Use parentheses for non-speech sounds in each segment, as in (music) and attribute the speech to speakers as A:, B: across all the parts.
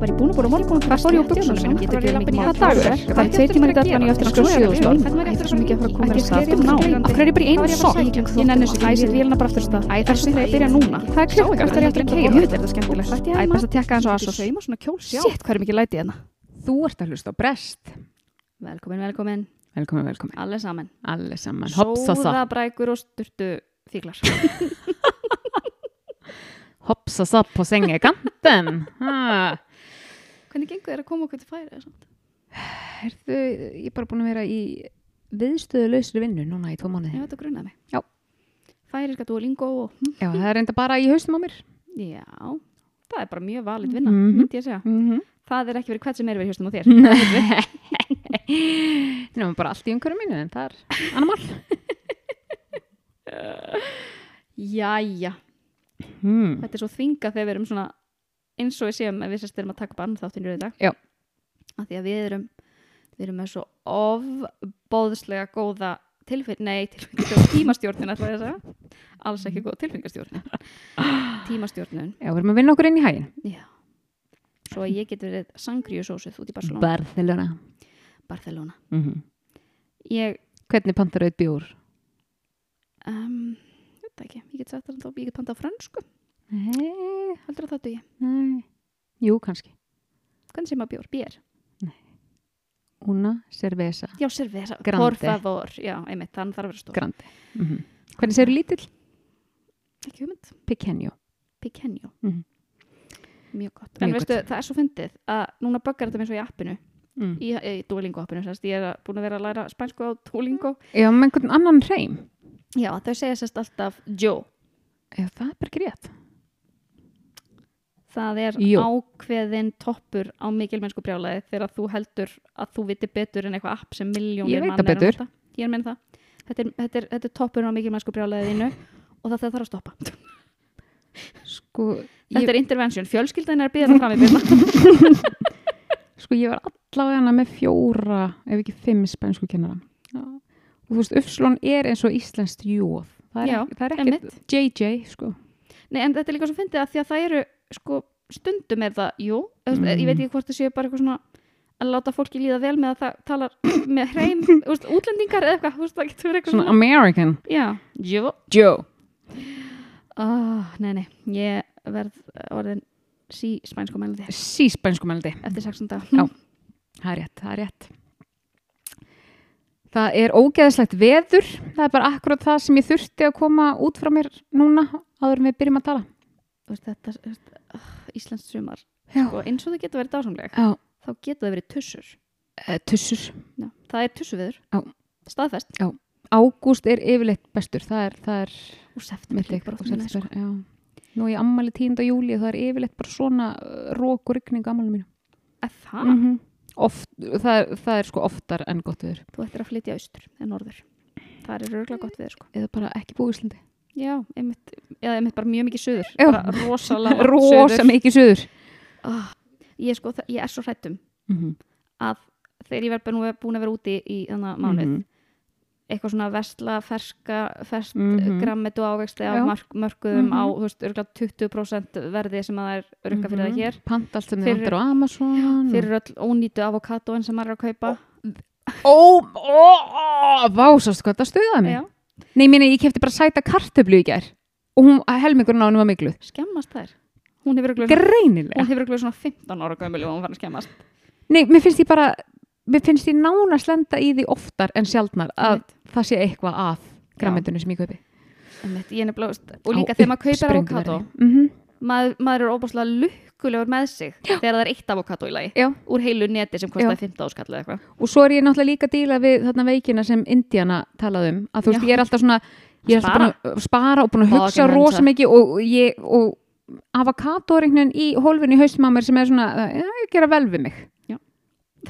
A: bara í búin búin á morgun bara fór ég úr buksunum mínum
B: Getur gefið mikið mál.
A: Það eru tveir tímar í dag þannig ég á eftir að skjóða sjóðustofn Æ, það er svo mikið að fara að um koma þér af stað Þú ná, af hverju er ég bara í einu sokk? Ég nenni þessu, æ, set vélina bara aftur af stað Æ, það er svo þegar ég byrja núna Það er klukkan, það er um ég aftur að keira Jú, þetta er þetta skemmtilegt Æ, best að tekka eins og asos Shit, hvað er mikið læti hérna
B: Þú ert að hlusta á brest.
A: Velkomin, velkomin,
B: Velkomin, velkomin.
A: alle saman
B: Alle saman. Hoppsasa.
A: Sóðabrækur og sturtu fíklar
B: Hoppsasa på sengekanten. Ha.
A: Hvernig gengur þér að koma okkur til færi?
B: Herðu, ég er bara búin að vera í viðstöðu lausri vinnu núna í tvo
A: Já,
B: mánuði.
A: þetta grunaði mig.
B: Já.
A: Færiska Duolingo og... hm,
B: Já, það er enda bara í haustum á mér.
A: Já, það er bara mjög valið vinna,
B: Mhm.
A: myndi ég að segja.
B: Mm -hmm.
A: Það er ekki verið hvert sem er verið hjá stum á þér.
B: Það er bara allt í umhverju mínu, en það er annar mál.
A: Jæja,
B: Mm.
A: þetta er svo þvingað þegar við erum svona eins og við séum að við sérst erum að taka bann þáttinu í dag.
B: Já.
A: Af því að við erum, við erum með svo ofbóðslega góða tilfinn, nei, tilfinn, tímastjórnin ætla ég að segja. Alls ekki góð tilfinningastjórnin. Tímastjórnin,
B: Já, við erum að vinna okkur inn í hægin.
A: já. Svo að ég get verið sangriusósið út í Barcelona.
B: Barcelona.
A: Barcelona.
B: Mm
A: Ég
B: Hvernig pantar auð bjór?
A: um, ég veit það ekki, ég get sagt það þá, ég get pantað á fransku,
B: Nei,
A: heldur að það dugi
B: nei. Jú, kannski.
A: hvernig sem að bjór, bér,
B: Una cerveza
A: já, servera,
B: Grande.
A: por favor já, einmitt, þann þarf að vera stór
B: grande. Mm Hvernig segir lítill?
A: ekki hugmynd,
B: Pequeño.
A: pequeño
B: Mhm.
A: mjög gott,
B: Mjög
A: en veistu, það er svo fyndið að núna böggar þetta mér svo í appinu
B: Mm.
A: í, í Duolingo appinu, sérst, ég er að- búin að vera að læra spænsku á Duolingo,
B: Já, með einhvern annan hreim.
A: Mhm. já, þau segja sérst alltaf jo,
B: Já, það er bara ekki rétt.
A: það er
B: Jó.
A: ákveðin toppur á mikilmennsku brjálæði þegar þú heldur að þú viti betur en eitthvað app sem miljónir
B: Ég veit
A: manna
B: það
A: eru að
B: betur.
A: nota. Ég er að meina það. Þetta er, þetta er, þetta er toppurinn á mikilmennsku brjálæðinu og það, það þarf að stoppa.
B: Sko,
A: Þetta
B: ég,
A: er intervention. Fjölskyldan er að byrja það fram í byrna.
B: sko, ég var allavega með fjóra, ef ekki fimm spænsku kennara. Já. Og þú veist, Ufslón er eins og íslenskt jóð. Það er,
A: Já,
B: ekki- það er
A: einmitt.
B: ekkert JJ, sko.
A: Nei, en þetta er líka svo fyndið að því að það eru sko stundum er það, jú, mm.
B: Mm.
A: ég veit ekki hvort það séu bara eitthvað svona að láta fólki líða vel með að það talar (clears throat) með
B: (laughs)
A: hreim, þú veist, útlendingar eða eitthvað, þú veist, það getur verið eitthvað
B: Svona
A: svona.
B: American.
A: Já, jú.
B: Joe.
A: Oh, nei, nei, ég verð orðin sí spænsku mælandi
B: Sí spænsku meldi.
A: eftir 16 dag.
B: Já. Það er rétt, það er rétt. Það er ógeðslegt veður. Það er bara akkurat það sem ég þurfti að koma út frá mér núna áður en við byrjum að tala.
A: Þú veist, þetta, þú veist, uh, Íslands sumar
B: Já.
A: og eins og það getur verið dásamleg,
B: Já,
A: þá getur það verið tussur.
B: eh, tussur.
A: Já. Það er tussuviður.
B: Já.
A: Staðfest.
B: Ágúst er yfirleitt bestur. Það er, það er
A: Og september
B: mitt
A: líka bara sko. oft
B: og
A: núna,
B: september, já. Nú er ég ammali 10. júli og það er yfirleitt bara svona rók og rigning ammali mínu.
A: sko. Að það,
B: Mm Oft, það, er- það er sko oftar en gott veður.
A: þú ættir að flytja austur en norður. Það er röglega gott viður, sko.
B: Eða bara ekki búið í (laughs) Íslandi.
A: Já, einmitt, eða einmitt bara mjög mikið suður.
B: Já.
A: Bara (laughs) rosalega
B: Rosa
A: suður.
B: mikið suður.
A: Ah, Ég, sko, það- ég er svo hrættum
B: Mm -hmm.
A: að þegar ég verð bara nú búin að vera úti í þannig mánuð, eitthvað svona vestla, ferska, fersk mm
B: Mhm.
A: grammetu ávegsti á
B: Já.
A: mark, mörkuðum
B: Mhm.
A: á, þú veist, örgulega 20% verði sem að það er rukka fyrir það hér.
B: Pant allt sem þið
A: Fyrir-
B: vantar á Amazon.
A: Fyrir öll ónýtu avokadóin sem maður er að kaupa.
B: Ó, ó, ó, vá, sástu hvað það stuðaði mig.
A: Já,
B: Nei, minni, ég kefti bara sæta kartöflu í gær og hún, helmingurinn á henni var mikluð.
A: skemmast þær. Hún hefur örgulega
B: Greinilega.
A: hún hefur örgulega svona 15 ára gömul og hún var að skemmast.
B: Nei, mér finnst ég bara, mér finnst ég nánast lenda í því oftar en sjaldnar að
A: Einmitt.
B: það sé eitthvað að grammetunum sem ég kaupi.
A: Einmitt, ég er nefnilega, veist, og líka þegar maður kaupir avokadó,
B: Mm
A: maður, maður er óbúslega lukkulegur með sig þegar það er eitt avokadó í lagi.
B: Já.
A: Úr heilu neti sem
B: Já.
A: kostaði 15 áskall eða eitthvað.
B: Og svo er ég náttúrulega líka að díla við þarna veikina sem Indiana talaði um. Að þú veist,
A: Já.
B: ég er alltaf svona, ég er
A: Spara.
B: alltaf spara. búin að spara og búin að
A: Vá,
B: hugsa
A: ekki
B: rosa
A: hunsa.
B: mikið og, og ég, og avokadóringnin í hólfinu í haustum á mér sem er svona, ég gera vel við mig.
A: Það er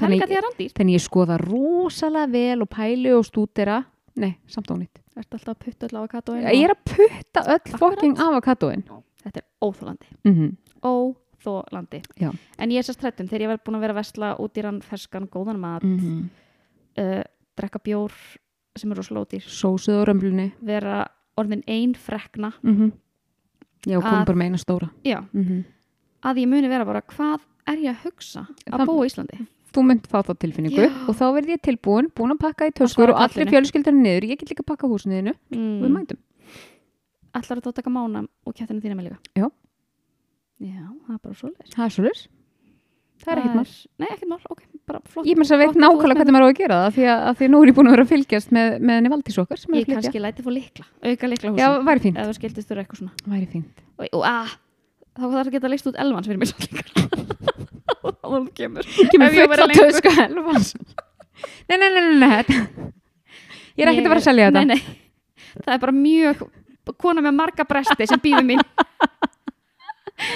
B: Þannig-
A: líka því að randýr.
B: Þannig ég skoða rosalega vel og pæli og stúdera. Nei, samt ónýtt.
A: Það er alltaf að putta öll avokadóin.
B: Ég er að putta öll
A: Akkurat.
B: fokking avokadóin.
A: Þetta er óþólandi.
B: Mm
A: Óþólandi.
B: Já.
A: En ég er sérst hrættum þegar ég verð búin að vera að vesla út í rann ferskan góðan mat,
B: mm -hmm.
A: uh, drekka bjór sem eru slótýr,
B: Sósuð á römblunni.
A: vera orðin ein frekna.
B: Mm -hmm. Já, kom
A: Að-
B: bara með eina stóra.
A: Já.
B: Mm -hmm.
A: Að ég muni vera bara hvað er ég að hugsa að
B: Það-
A: búa í Íslandi?
B: þú mynd fá þá tilfinningu
A: Já.
B: og þá verð ég tilbúin, búin að pakka í töskur
A: svara
B: og allir
A: kallinu.
B: fjölskyldurinn niður, ég get líka að pakka húsinu þínu og við
A: Mm.
B: mætum.
A: Ætlar þetta að taka mána og kjættinu þína með líka?
B: Já.
A: Já, það er bara svolítið.
B: Það er svolítið. Það er ekkert mál.
A: Nei, ekkert mál, ok, bara flott.
B: Ég mér sem veit
A: Flott, þú ert
B: nákvæmlega
A: með-
B: hvernig maður á að gera það af því að, að því að nú er ég búin að vera að fylgjast með, með henni Valdís okkar sem er
A: Ég
B: að flytja.
A: kannski læti fór likla, auka likla
B: Já,
A: húsin.
B: væri fínt.
A: Ef þú skildist þurra eitthvað svona.
B: Væri
A: (laughs)
B: fínt.
A: Og, og að, þá þarf að geta leist út elvans fyrir mér (laughs) svolítið. Þá hún kemur.
B: Kemur
A: Ef ég
B: fulla
A: væri lengur.
B: tösku elfans. (laughs) Nei, nei, nei, nei, nei. þetta- Ég er ekkert að vera að selja
A: Nei,
B: þetta.
A: nei, það er bara mjög, kona með marga bresti sem býður
B: (laughs)
A: mín.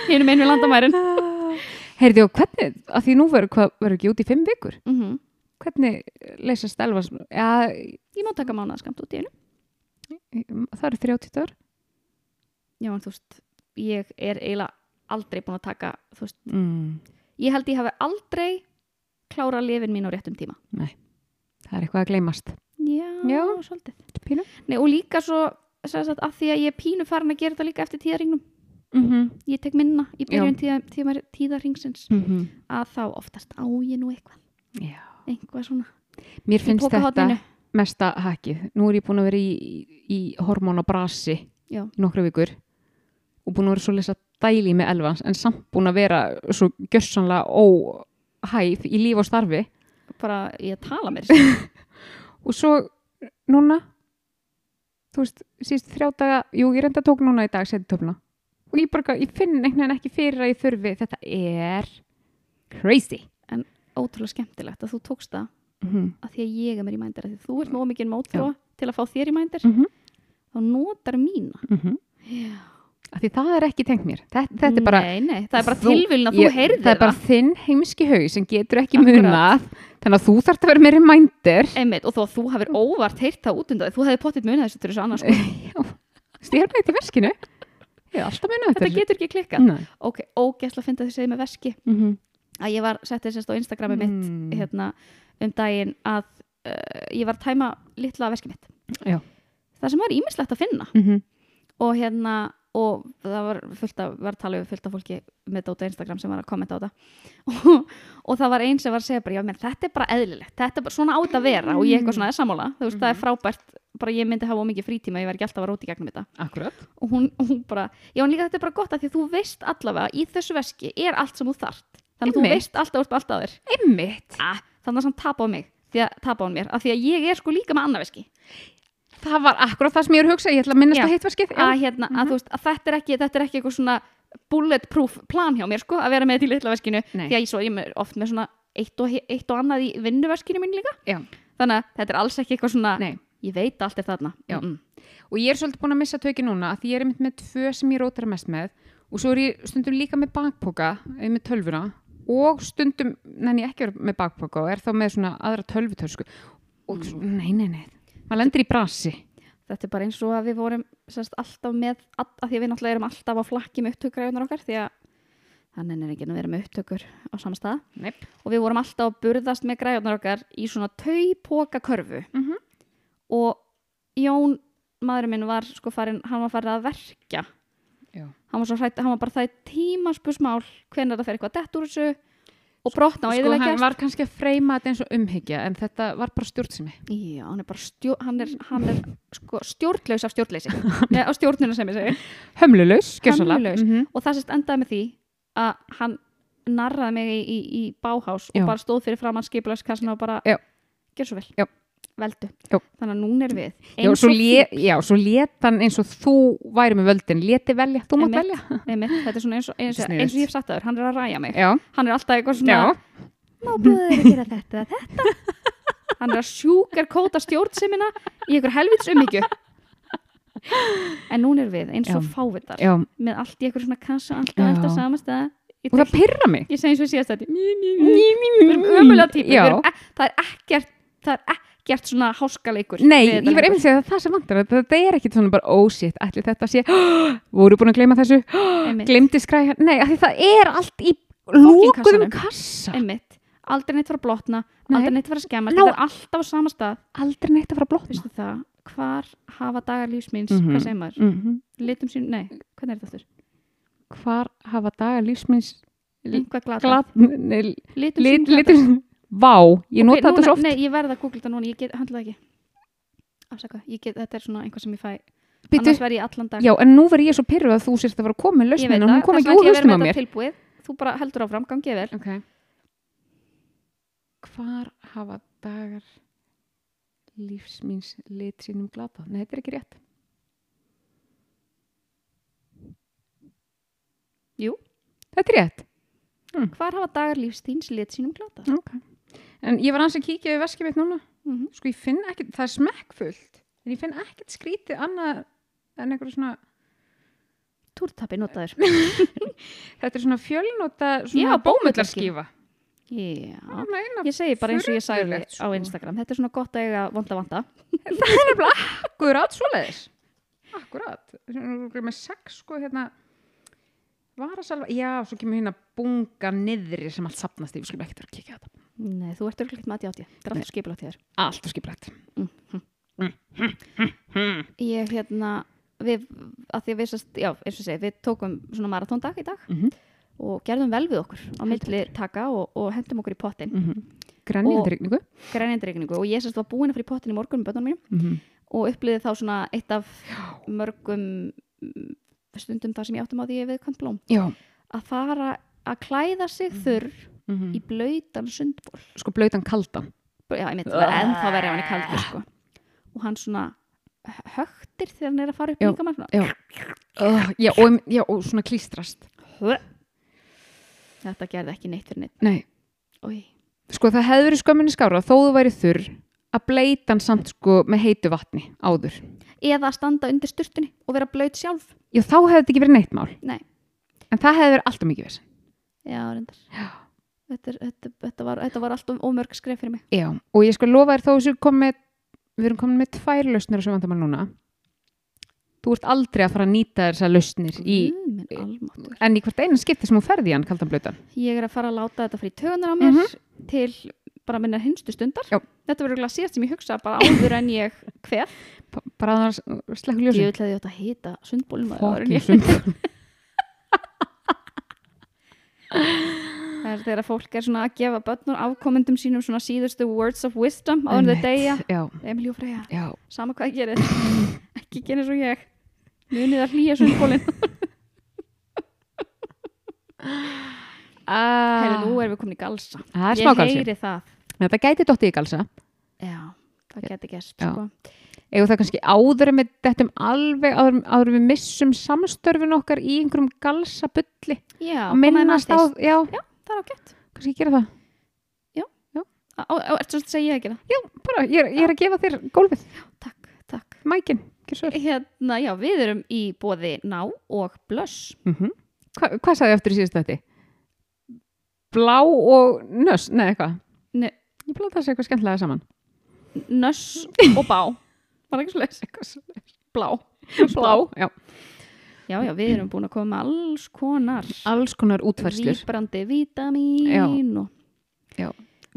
A: Hinum einu við landamærin.
B: (laughs) Heyrðu, og hvernig, að því nú verður hvað- verður ekki út í fimm vikur,
A: Mm
B: hvernig eh, leysast elfans? Já,
A: Ég má taka mánaða út í einu.
B: það eru 30 dagar.
A: Já, en þú veist, ég er eiginlega aldrei búin að taka, þú veist,
B: Mm,
A: ég held ég hafi aldrei klára lifin mín á réttum tíma
B: það er eitthvað að gleymast.
A: já,
B: Já.
A: svolítið
B: Pínu?
A: Nei, og líka svo sagt, að því að ég er pínu farin að gera þetta líka eftir tíðarringnum
B: Mm
A: ég tek minna í byrjun tíða, tíða, tíðarringsins að þá oftast á ég nú eitthvað
B: Já.
A: eitthvað svona
B: Mér finnst
A: í
B: þetta
A: pokahotninu
B: mesta hakið. Nú er ég búin að vera í, í hormónabrasi
A: Já.
B: í nokkra vikur og búin að vera svo lesa dæli með elvans en samt búin að vera svo gjössanlega óhæf í líf og starfi
A: bara ég tala mér já,
B: og svo núna þú veist, síst þrjá daga jú, ég reynda tók núna í dag setitöfna og ég bara, eitthvað- ég finn einhvern veginn ekki fyrir að ég þurfi þetta er crazy
A: (laughs) ótrúlega skemmtilegt að þú tókst það
B: mm -hmm.
A: að því að ég er mér í mændir að því þú ert með ómikið mótþróa til að fá þér í mændir
B: Mhm.
A: þá notar mína já
B: því það er ekki tengt mér þetta, þetta er bara
A: nei, nei, það er bara
B: Þú-
A: tilvílun að þú
B: Ég-
A: heyrðir
B: það er bara þinn heimski haug sem getur ekki
A: Akkurat.
B: munað þannig að þú þarft að vera meiri mændir
A: Einmitt, og þó að þú hafir
B: Mm.
A: óvart heyrt það út undan því, þú hefði pottitt munið þessu til þessu
B: (laughs)
A: annars sko.
B: stjárnætt í veskinu ég er Mm. alltaf munað
A: þetta
B: eftir
A: getur ekki klikkað
B: þessu. Nei.
A: ok, ógæsla að finna þessi segið með veski
B: Mhm.
A: að ég var settið sérst á Instagrami
B: Mm.
A: mitt hérna, um daginn að uh, ég var að tæma litla veski mitt
B: Já.
A: það sem var ímislegt að finna
B: Mhm.
A: og hérna og það var fullt að var að tala við fullt af fólki með þetta út á Instagram sem var að kommenta á þetta (laughs) og, og það var einn sem var að segja bara, já, menn, þetta er bara eðlilegt, þetta er bara svona átt að vera og ég eitthvað svona er sammála, þú veist, það
B: Mm.
A: er frábært bara ég myndi hafa ómikið frítíma, ég var ekki alltaf að róti gegnum þetta
B: akkurat
A: og hún, hún bara, já, en líka þetta er bara gott að því að þú veist allavega, í þessu veski er allt sem þú þart, þannig að þú
B: Einmitt.
A: veist alltaf úr allt á þér,
B: einmitt,
A: ah, þannig að hann tapa á mig því að tapa á mér, af því að ég er sko líka með annað veski,
B: það var akkurat það sem ég er að hugsa ég ætla að minnast
A: Já.
B: á hitt veskið já. Mhm.
A: að hérna, að þú veist, að þetta er ekki þetta er ekki eitthvað svona bulletproof plan hjá mér, sko, að vera með þetta í litla veskinu
B: Nei.
A: því að ég svo, ég er með- oft með svona eitt og, eitt og annað í vinnuveskinu mín líka
B: Já.
A: þannig að þetta er alls ekki eitthvað svona
B: Nei.
A: ég veit allt er þarna
B: Já.
A: Mm, mm.
B: og ég er svolítið búin að missa töki núna að því ég er einmitt með tvö sem ég rótar mest með og svo er ég stundum líka með bakpoka eh, með tölvuna og stundum nenni ég ekki að vera með bakpoka og er þá með svona aðra tölvutösku og nei, nei, nei, maður lendir í brasi
A: þetta er bara eins og að við vorum sérst, alltaf með, að, að því að við náttúrulega erum alltaf á flakki með upptökgræðunar okkar því að þannig er ekki að vera með upptökur á sama stað
B: Nei.
A: og við vorum alltaf að burðast með græðunar okkar í svona taupoka körfu
B: Mhm.
A: og Jón maðurinn minn var sko farin, hann var farin að verkja
B: Já.
A: hann var, svo hrætt, hann var bara það tímaspusmál hvenær það fer eitthvað dett úr þessu og brotna og
B: sko, hann
A: eðileggjast
B: var kannski að freyma þetta eins og umhyggja en þetta var bara stjórnsemi
A: Já, hann er bara stjó, hann er, hann er sko, stjórnlaus af
B: (laughs)
A: stjórnleysi Nei, á stjórnuna sem ég segi
B: hömlulaus, Mhm.
A: gjörsamlega.
B: Hömlulaus.
A: og það sérst endaði með því að hann narraði mig í, í, í báhás og
B: Já.
A: bara stóð fyrir framann skipulagskassina og bara,
B: Já.
A: gjör svo vel
B: Já.
A: veldu,
B: Já.
A: þannig að núna er við
B: já, svo lé, já, svo lét hann eins og þú væri með völdin, léti velja, þú mátt
A: Einmitt.
B: velja
A: einmitt, þetta er svona eins og, eins,
B: Þetta er sniðugt.
A: eins og ég hef sagt aður, hann er að ræja mig
B: já,
A: hann er alltaf eitthvað svona
B: já,
A: má bjóður að gera þetta, þetta hann er að sjúkar kóta stjórnsemina í einhver helvits umhyggju en núna er við eins og
B: Já.
A: fávitar
B: já
A: með allt í einhver svona kassa alltaf
B: Já.
A: alltaf samastæða
B: og það pyrra mig
A: ég segi eins og síðast þetta
B: við
A: við erum ömulega típur
B: Mm, já,
A: Við erum, e- það er ekkert það er ekkert svona háskaleikur
B: Nei,
A: við þetta
B: ég var
A: lengur.
B: einmitt að segja það það sem vantar að þetta er ekkit svona bara oh shit, ætli þetta sé (gasps) voru búin að gleyma þessu,
A: einmitt,
B: glemdi skræja nei, af því það er allt í
A: kassanum.
B: lókuðum kassa,
A: einmitt aldrei neitt var að blotna,
B: Nei.
A: aldrei neitt var að skemmast
B: Ná-
A: þetta er alltaf á sama stað
B: aldrei neitt að fara að blotna
A: veistu það, hvar hafa dagar lífsmins
B: Mhm.
A: hvað segir maður,
B: mm -hmm.
A: litum sín, nei, hvernig er þetta aftur
B: hvar hafa dagar lífsminns
A: Einhvað glata.
B: Glad, nei,
A: Litum
B: lit,
A: sínum
B: litum sínum. Vá,
A: Ok,
B: ég nota þetta
A: núna-
B: svo oft.
A: Nei, ég verð að googla þetta núna, ég get, handla það ekki. Afsaka, ég get, þetta er svona einhvað sem ég fæ.
B: Bíddu,
A: Annars verð ég allan dag.
B: já, en nú verð ég svo pyrruð að þú sérst að fara að koma
A: Ég
B: með
A: veit
B: lausnina og hún kom
A: þess
B: ekki
A: vegna ætla
B: úr
A: ég að vera
B: hausnum á
A: með
B: mér.
A: þetta tilbúið. Þú bara heldur áfram, gangið vel.
B: Ok. Hvar hafa dagar lífs míns lit sínum glata? Nei, þetta er ekki rétt.
A: Jú.
B: Þetta er rétt.
A: Hvar hafa dagar lífs þíns lit sínum glata?
B: Ok. En ég var aðeins að kíkja við veskið mitt núna.
A: Mhm.
B: Sko, ég finn ekkert, það er smekkfullt. En ég finn ekkert skrítið annað en einhverju svona,
A: Túrtappi (laughs) notaður.
B: þetta er svona fjölnota, svona
A: Já, bómullarský.
B: bómullarskífa.
A: Já.
B: Það er eina
A: Ég segi bara eins og ég sagði
B: Furðulegt,
A: á
B: sko.
A: Instagram. Þetta er svona gott að eiga vonda vonda.
B: Akkurát svoleiðis. Akkurát. Með sex sko hérna varasalva, já, svo kemur hérna bunga niðri sem allt sapnast í, við skulum ekkert vera að kíkja á þetta.
A: Nei, þú ert örgleikt með 80-80. Þetta er alltaf skipulagt hjá þér.
B: Allt og skiprætt. Mm-hmm.
A: Ég, hérna, við, að því að við, sest, já, eins og ég segi, við tókum svona maratóndag í dag
B: Mhm.
A: og gerðum vel við okkur á milli taka og, og hendum okkur í pottin,
B: mhm.
A: Og-
B: Grænjandi rigningu.
A: grænindreikningu og ég sérst var búin að fyrir pottin í morgun með bönnum mínum
B: Mhm.
A: og upplýði þá svona eitt af mörgum mm, stundum þar sem ég áttum á því ég við kvönd blóm
B: Já.
A: að fara að klæða sig þurr í blöytan sundból
B: Mhm. Sko blautan kaldan.
A: já, ég myndi
B: Ah.
A: það var ennþá verið hann í kaldur sko. og hann svona högtir þegar hann er að fara upp
B: Já.
A: líka maður
B: Já. Uh, já, og, já, og svona klístrast.
A: þetta gerði ekki neitt fyrir neitt
B: Nei.
A: Oj.
B: Sko það hefði verið skömminni skára þó þú væri þurr að bleitan samt sko með heitu vatni áður.
A: eða að standa undir styrtunni og vera blöyt sjálf
B: Já, þá hefði þetta ekki verið neitt mál.
A: Nei.
B: En það hefði verið alltaf mikið verið.
A: já, reyndar þetta, er, þetta, þetta, var, þetta var alltaf ómörg skref fyrir mig
B: Já, og ég skal lofa þér þó sem komi, við erum komin með tvær lausnir á þessu vandamál núna. Þú ert aldrei að fara að nýta þessar lausnir í,
A: Guð minn almáttugur.
B: en í hvert einu skipti sem hún ferði í hann, kaldan blötan.
A: ég er að fara að láta þetta fyrir tögunar á mér til bara minna hinstu stundar
B: Mhm. Já.
A: þetta verður glæð síðast sem ég hugsa bara áður en ég (laughs) hver
B: P- Bara að það slekku ljósin.
A: ég ætlaði þetta að hýta sundbólum maður áður en
B: Fokkin
A: ég-
B: sund.
A: (laughs) það er þegar fólk er svona að gefa börnur afkomendum sínum svona síðustu words of wisdom áður en þau deyja
B: Já,
A: Emilí og Freyja
B: já.
A: sama hvað ég gerir ekki gerir svo ég munið að hlýja sundbólinn
B: (laughs)
A: Heyrðu, nú erum við komin í galsa
B: Það er
A: Ah, ég
B: smákalsi.
A: heyri það
B: Þetta gæti dottið í galsa.
A: já, það geti gæst
B: Já.
A: sko.
B: Eða það kannski áður með þetta um alveg, áður, áður en við missum samstörfin okkar í einhverjum galsabulli.
A: já,
B: Að minnast á, já,
A: það er ágætt
B: kannski gera það.
A: Á- á- á- ertu svolítið að segja ég að gera
B: Já, bara, ég er, ég er að gefa þér gólfið,
A: takk, takk
B: mækin, gjör svo vel.
A: hérna, já, við erum í bóði ná og blöss
B: Mm Hva, hvað sagði ég eftir í síðust þetta? Blá og nöss, nei eitthvað.
A: Nei.
B: Ég blóta þessi eitthvað skemmtilega saman.
A: nöss og
B: (laughs)
A: bá var ekki svolítið
B: Eitthvað svo-
A: blá
B: Blá, já.
A: já, já, við erum búin að koma með alls konar
B: Alls konar útverslur.
A: víbrandi vítamín og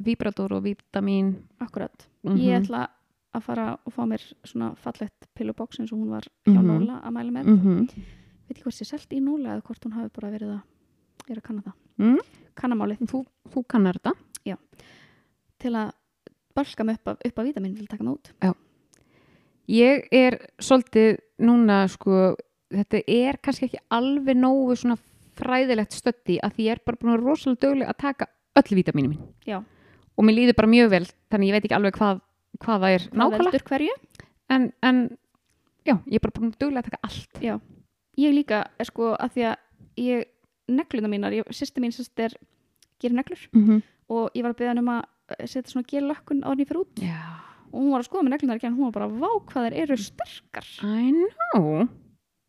B: Víbrator og vítamín.
A: akkurat
B: Mm
A: ég ætla að fara og fá mér svona fallett pillubóks eins og hún var hjá
B: Mhm.
A: Nóla að mæla með
B: Mm
A: veit ekki hvort sé selt í Nóla eða hvort hún hafi bara verið að ég er að kanna það
B: Mm.
A: kannamálið
B: þú, þú kannar þetta.
A: til að balka mig upp af, upp af vítamín til að taka mig út
B: Ég er svolítið núna, sko, þetta er kannski ekki alveg nógu svona fræðilegt stötti að því ég er bara búin að vera rosalega dögleg að taka öll vítaminu mín.
A: Já.
B: Og mér líður bara mjög vel, þannig ég veit ekki alveg hvað, hvað það er
A: Hvað
B: nákvæmlega.
A: veldur hverju
B: en, en já, ég er bara búin að duglega að taka allt
A: ég líka er sko að því að ég negluna mínar, ég, sýsti mín sérst er gerir neglur
B: mm -hmm.
A: og ég var að beða hann um að eh, setja svona gelökkun áður en ég fyrir út
B: Já,
A: og hún var að skoða með neglunar ekki en hún var bara vá hvað þær eru sterkar
B: I know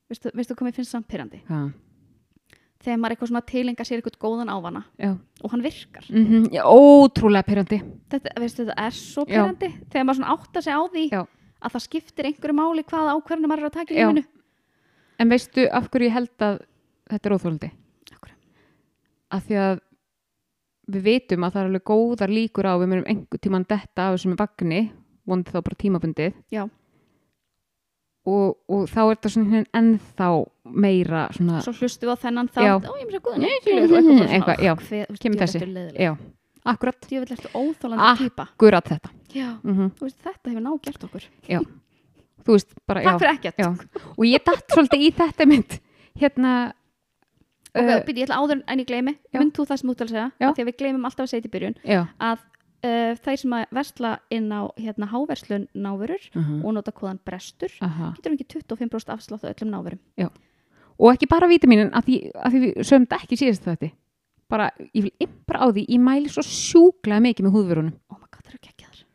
A: veistu, veistu hvað mér finnst samt pyrrandi
B: Hvað?
A: þegar maður eitthvað svona tilinga sér eitthvað góðan ávana
B: Já.
A: og hann virkar
B: Mm já, ótrúlega pyrrandi
A: þetta, veistu, þetta er svo
B: Já.
A: pyrrandi þegar maður svona áttar sig á því
B: Já.
A: að það skiptir einhverju máli hvaða ákverðinu maður er að taka í
B: Já.
A: lífinu
B: En veistu af hverju ég held að þetta er óþólandi?
A: Af hverju?
B: Af því að við vitum að það er alveg góðar líkur á við mjög einhver tímann detta af þessum vagni, vondið þá bara tímabundið
A: Já.
B: og, og þá er þetta svona ennþá meira svona,
A: svo hlustu á þennan
B: Já.
A: þátt, ó ég mér svo guðin
B: Eitthvað, já. Kemur þessi. já, akkurat,
A: ég vil eftir óþólandi
B: Ah.
A: týpa
B: akkurat þetta
A: já,
B: mm
A: þú veist, þetta hefur náðu gert okkur
B: þú veist, bara, já,
A: takk fyrir ekkert
B: já og ég datt svolítið í þetta mynd hérna
A: ok,
B: uh,
A: byrja, ég ætla áður en ég gleymi
B: Já.
A: mynd þú það sem þú ætlar að segja,
B: Já.
A: af því að við gleymum alltaf að segja þetta í byrjun
B: já,
A: að uh, þeir sem að versla inn á hérna háverslun návörur
B: uh
A: og nota kóðan brestur getur ekki 25% afslátt á öllum návörum
B: og ekki bara vítaminin að því, að því við sögum þetta ekki síðast þetta bara, ég vil ympra á því ég mæli svo sjúklega mikið með húðvörunum
A: oh my god, það eru geggjaðar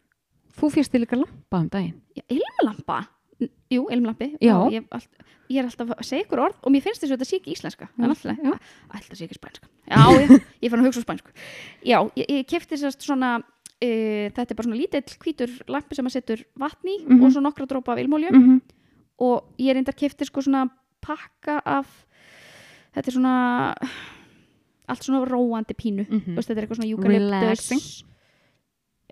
B: þú fyrst til líka lampa um daginn
A: Já, ilmlampa, N- jú, ilmlampi
B: Já.
A: Ó, ég, allt, ég er alltaf að segja ykkur orð og mér finnst þess að þetta sé ekki íslenska en alltaf,
B: já.
A: alltaf sé ekki spænska já, já, ég fann að hugsa á spænsku já, ég, ég kefti sérst svona Uh, þetta er bara svona lítill hvítur lampi sem maður setur vatn í
B: Mhm.
A: og svo nokkra dropa af ilmolju
B: mm -hmm.
A: og ég reyndar kefti sko svona pakka af þetta er svona allt svona róandi pínu Þú veist, þetta er eitthvað svona
B: Mm. Relaxing.
A: eukalyptus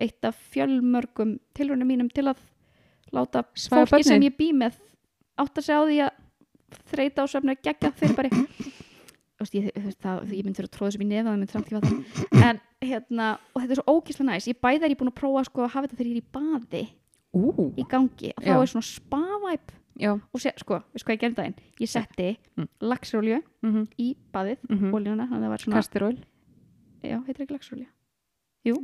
A: eitt af fjölmörgum tilraunum mínum til að láta
B: Svæfa
A: fólki sem
B: börnin.
A: ég bý með átt að segja á því að þreita á söfna gegja fyrir bara
B: (coughs)
A: veist, ég, þú veist, það, ég mynd fyrir að tróða sem í nefða það mynd samt ekki vatn en hérna, og þetta er svo ókíslega næs ég bæði er ég búin að prófa sko, að hafa þetta þegar ég er í baði
B: Ú,
A: í gangi, og þá
B: Já.
A: er svona spavæp
B: já
A: og sé, sko, veist hvað ég gerði um daginn ég setti
B: Mm.
A: laxrólju
B: mm -hmm.
A: í baðið,
B: Mm -hmm.
A: oljuna þannig að það var svona
B: Kastiról
A: já, heitir ekki laxrólja jú,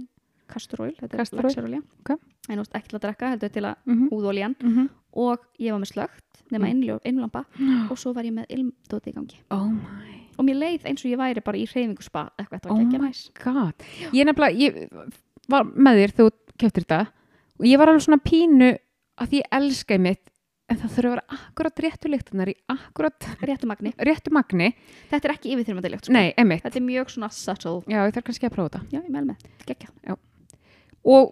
A: kasturól, þetta er
B: Castor oil,
A: laxrólja
B: ok.
A: en þú veist ekki til að drekka, heldur til að
B: mm
A: húðoljan
B: -hmm.
A: og ég var með slögt nema
B: Mm.
A: mm.
B: (gasps)
A: innlampa og svo var ég með ilmdóti í gangi
B: Oh my
A: og mér leið eins og ég væri bara í hreyfingu spa eitthvað, þetta
B: Oh
A: var ekki
B: my
A: næs
B: god Ég nefnilega, ég var með þér þegar þú kjöptir þetta og ég var alveg svona pínu að því ég elskaði mitt en það þurfa að vera akkurat réttu lyktunar í akkurat
A: réttu magni,
B: réttu magni
A: þetta er ekki yfirþyrmandi ljótt sko.
B: Nei, emitt
A: þetta er mjög svona subtle
B: Já, ég þarf kannski að prófa þetta
A: já, ég mel með, gekkja
B: og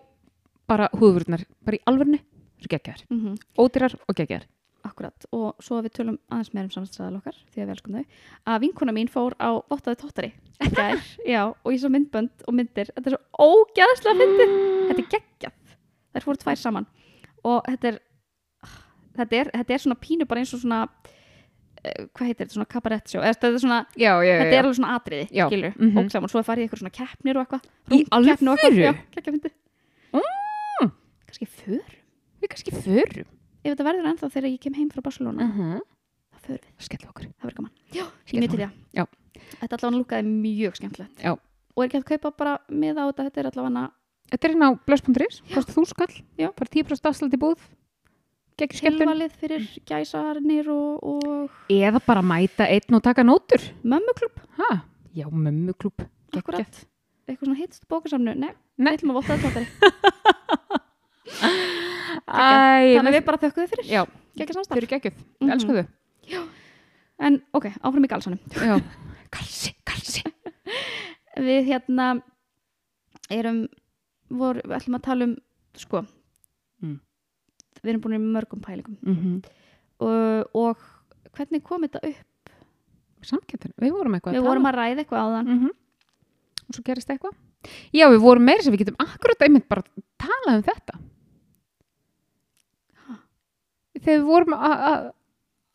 B: bara húðvörðnar, bara í alvörni eru geggjar,
A: mm -hmm.
B: ódýrar og geggjar
A: akkurat, og svo við tölum aðeins meir um samstæðal okkar, því að við elskum þau að vinkona mín fór á vottaði tóttari í
B: (laughs)
A: gær, já, og ég svo myndbönd og myndir, þetta er svo ógæðslega myndi þetta er geggjað þær fóru tvær saman og þetta er ah, þetta er, þetta er svona pínu bara eins og svona eh, hvað heitir þetta, svona cabaret show eða þetta er svona,
B: Já, já,
A: þetta er alveg svona atriði
B: Já,
A: skilur, mm
B: mhm.
A: -hmm. og saman, svo farið ykkur svona keppnir og eitthvað
B: Í
A: Rúmkeppni og eitthvað,
B: alvöru?
A: já,
B: Mm.
A: geggja myndi kannski för,
B: Við kannski förum
A: ef þetta verður ennþá þegar ég kem heim frá Barcelona,
B: uh -huh.
A: þá förum við,
B: Skellum okkur
A: það verður gaman ég
B: Skellum
A: myndi það,
B: Já.
A: þetta allavega lúkaði mjög skemmtilegt
B: Já.
A: og er ekki að kaupa bara með á þetta, þetta er allavega
B: Þetta er hérna á blöss.is, kostar þú skall,
A: Já.
B: bara 10% afslut í búð, gegn skellun.
A: tilvalið fyrir gæsarnir og, og
B: Eða bara mæta einn og taka nótur.
A: mömmuklub
B: Ha? Já, mömmuklúb.
A: Akkurat. Eitthvað svona hittst bókasamnu, nei,
B: Nei.
A: við ætlum að votta það tóttari.
B: Æ,
A: Ah, Þannig að við bara þökkum þið fyrir.
B: Já,
A: Gekk
B: þau
A: samstarf.
B: eru geggjöð, mm
A: Mhm.
B: elsku þau.
A: En ok, áfram í galsanum.
B: Já. Kalsi, kalsi.
A: Við hérna erum, vor, við ætlum að tala um, sko,
B: Mm.
A: við erum búin í mörgum pælingum
B: Mm -hmm.
A: og, og hvernig kom þetta upp?
B: við vorum eitthvað um
A: Við vorum að ræða eitthvað áðan.
B: Mm Og svo gerist eitthvað. Já, við vorum meira sem við getum akkurat einmitt bara talað um þetta. Þegar við vorum að að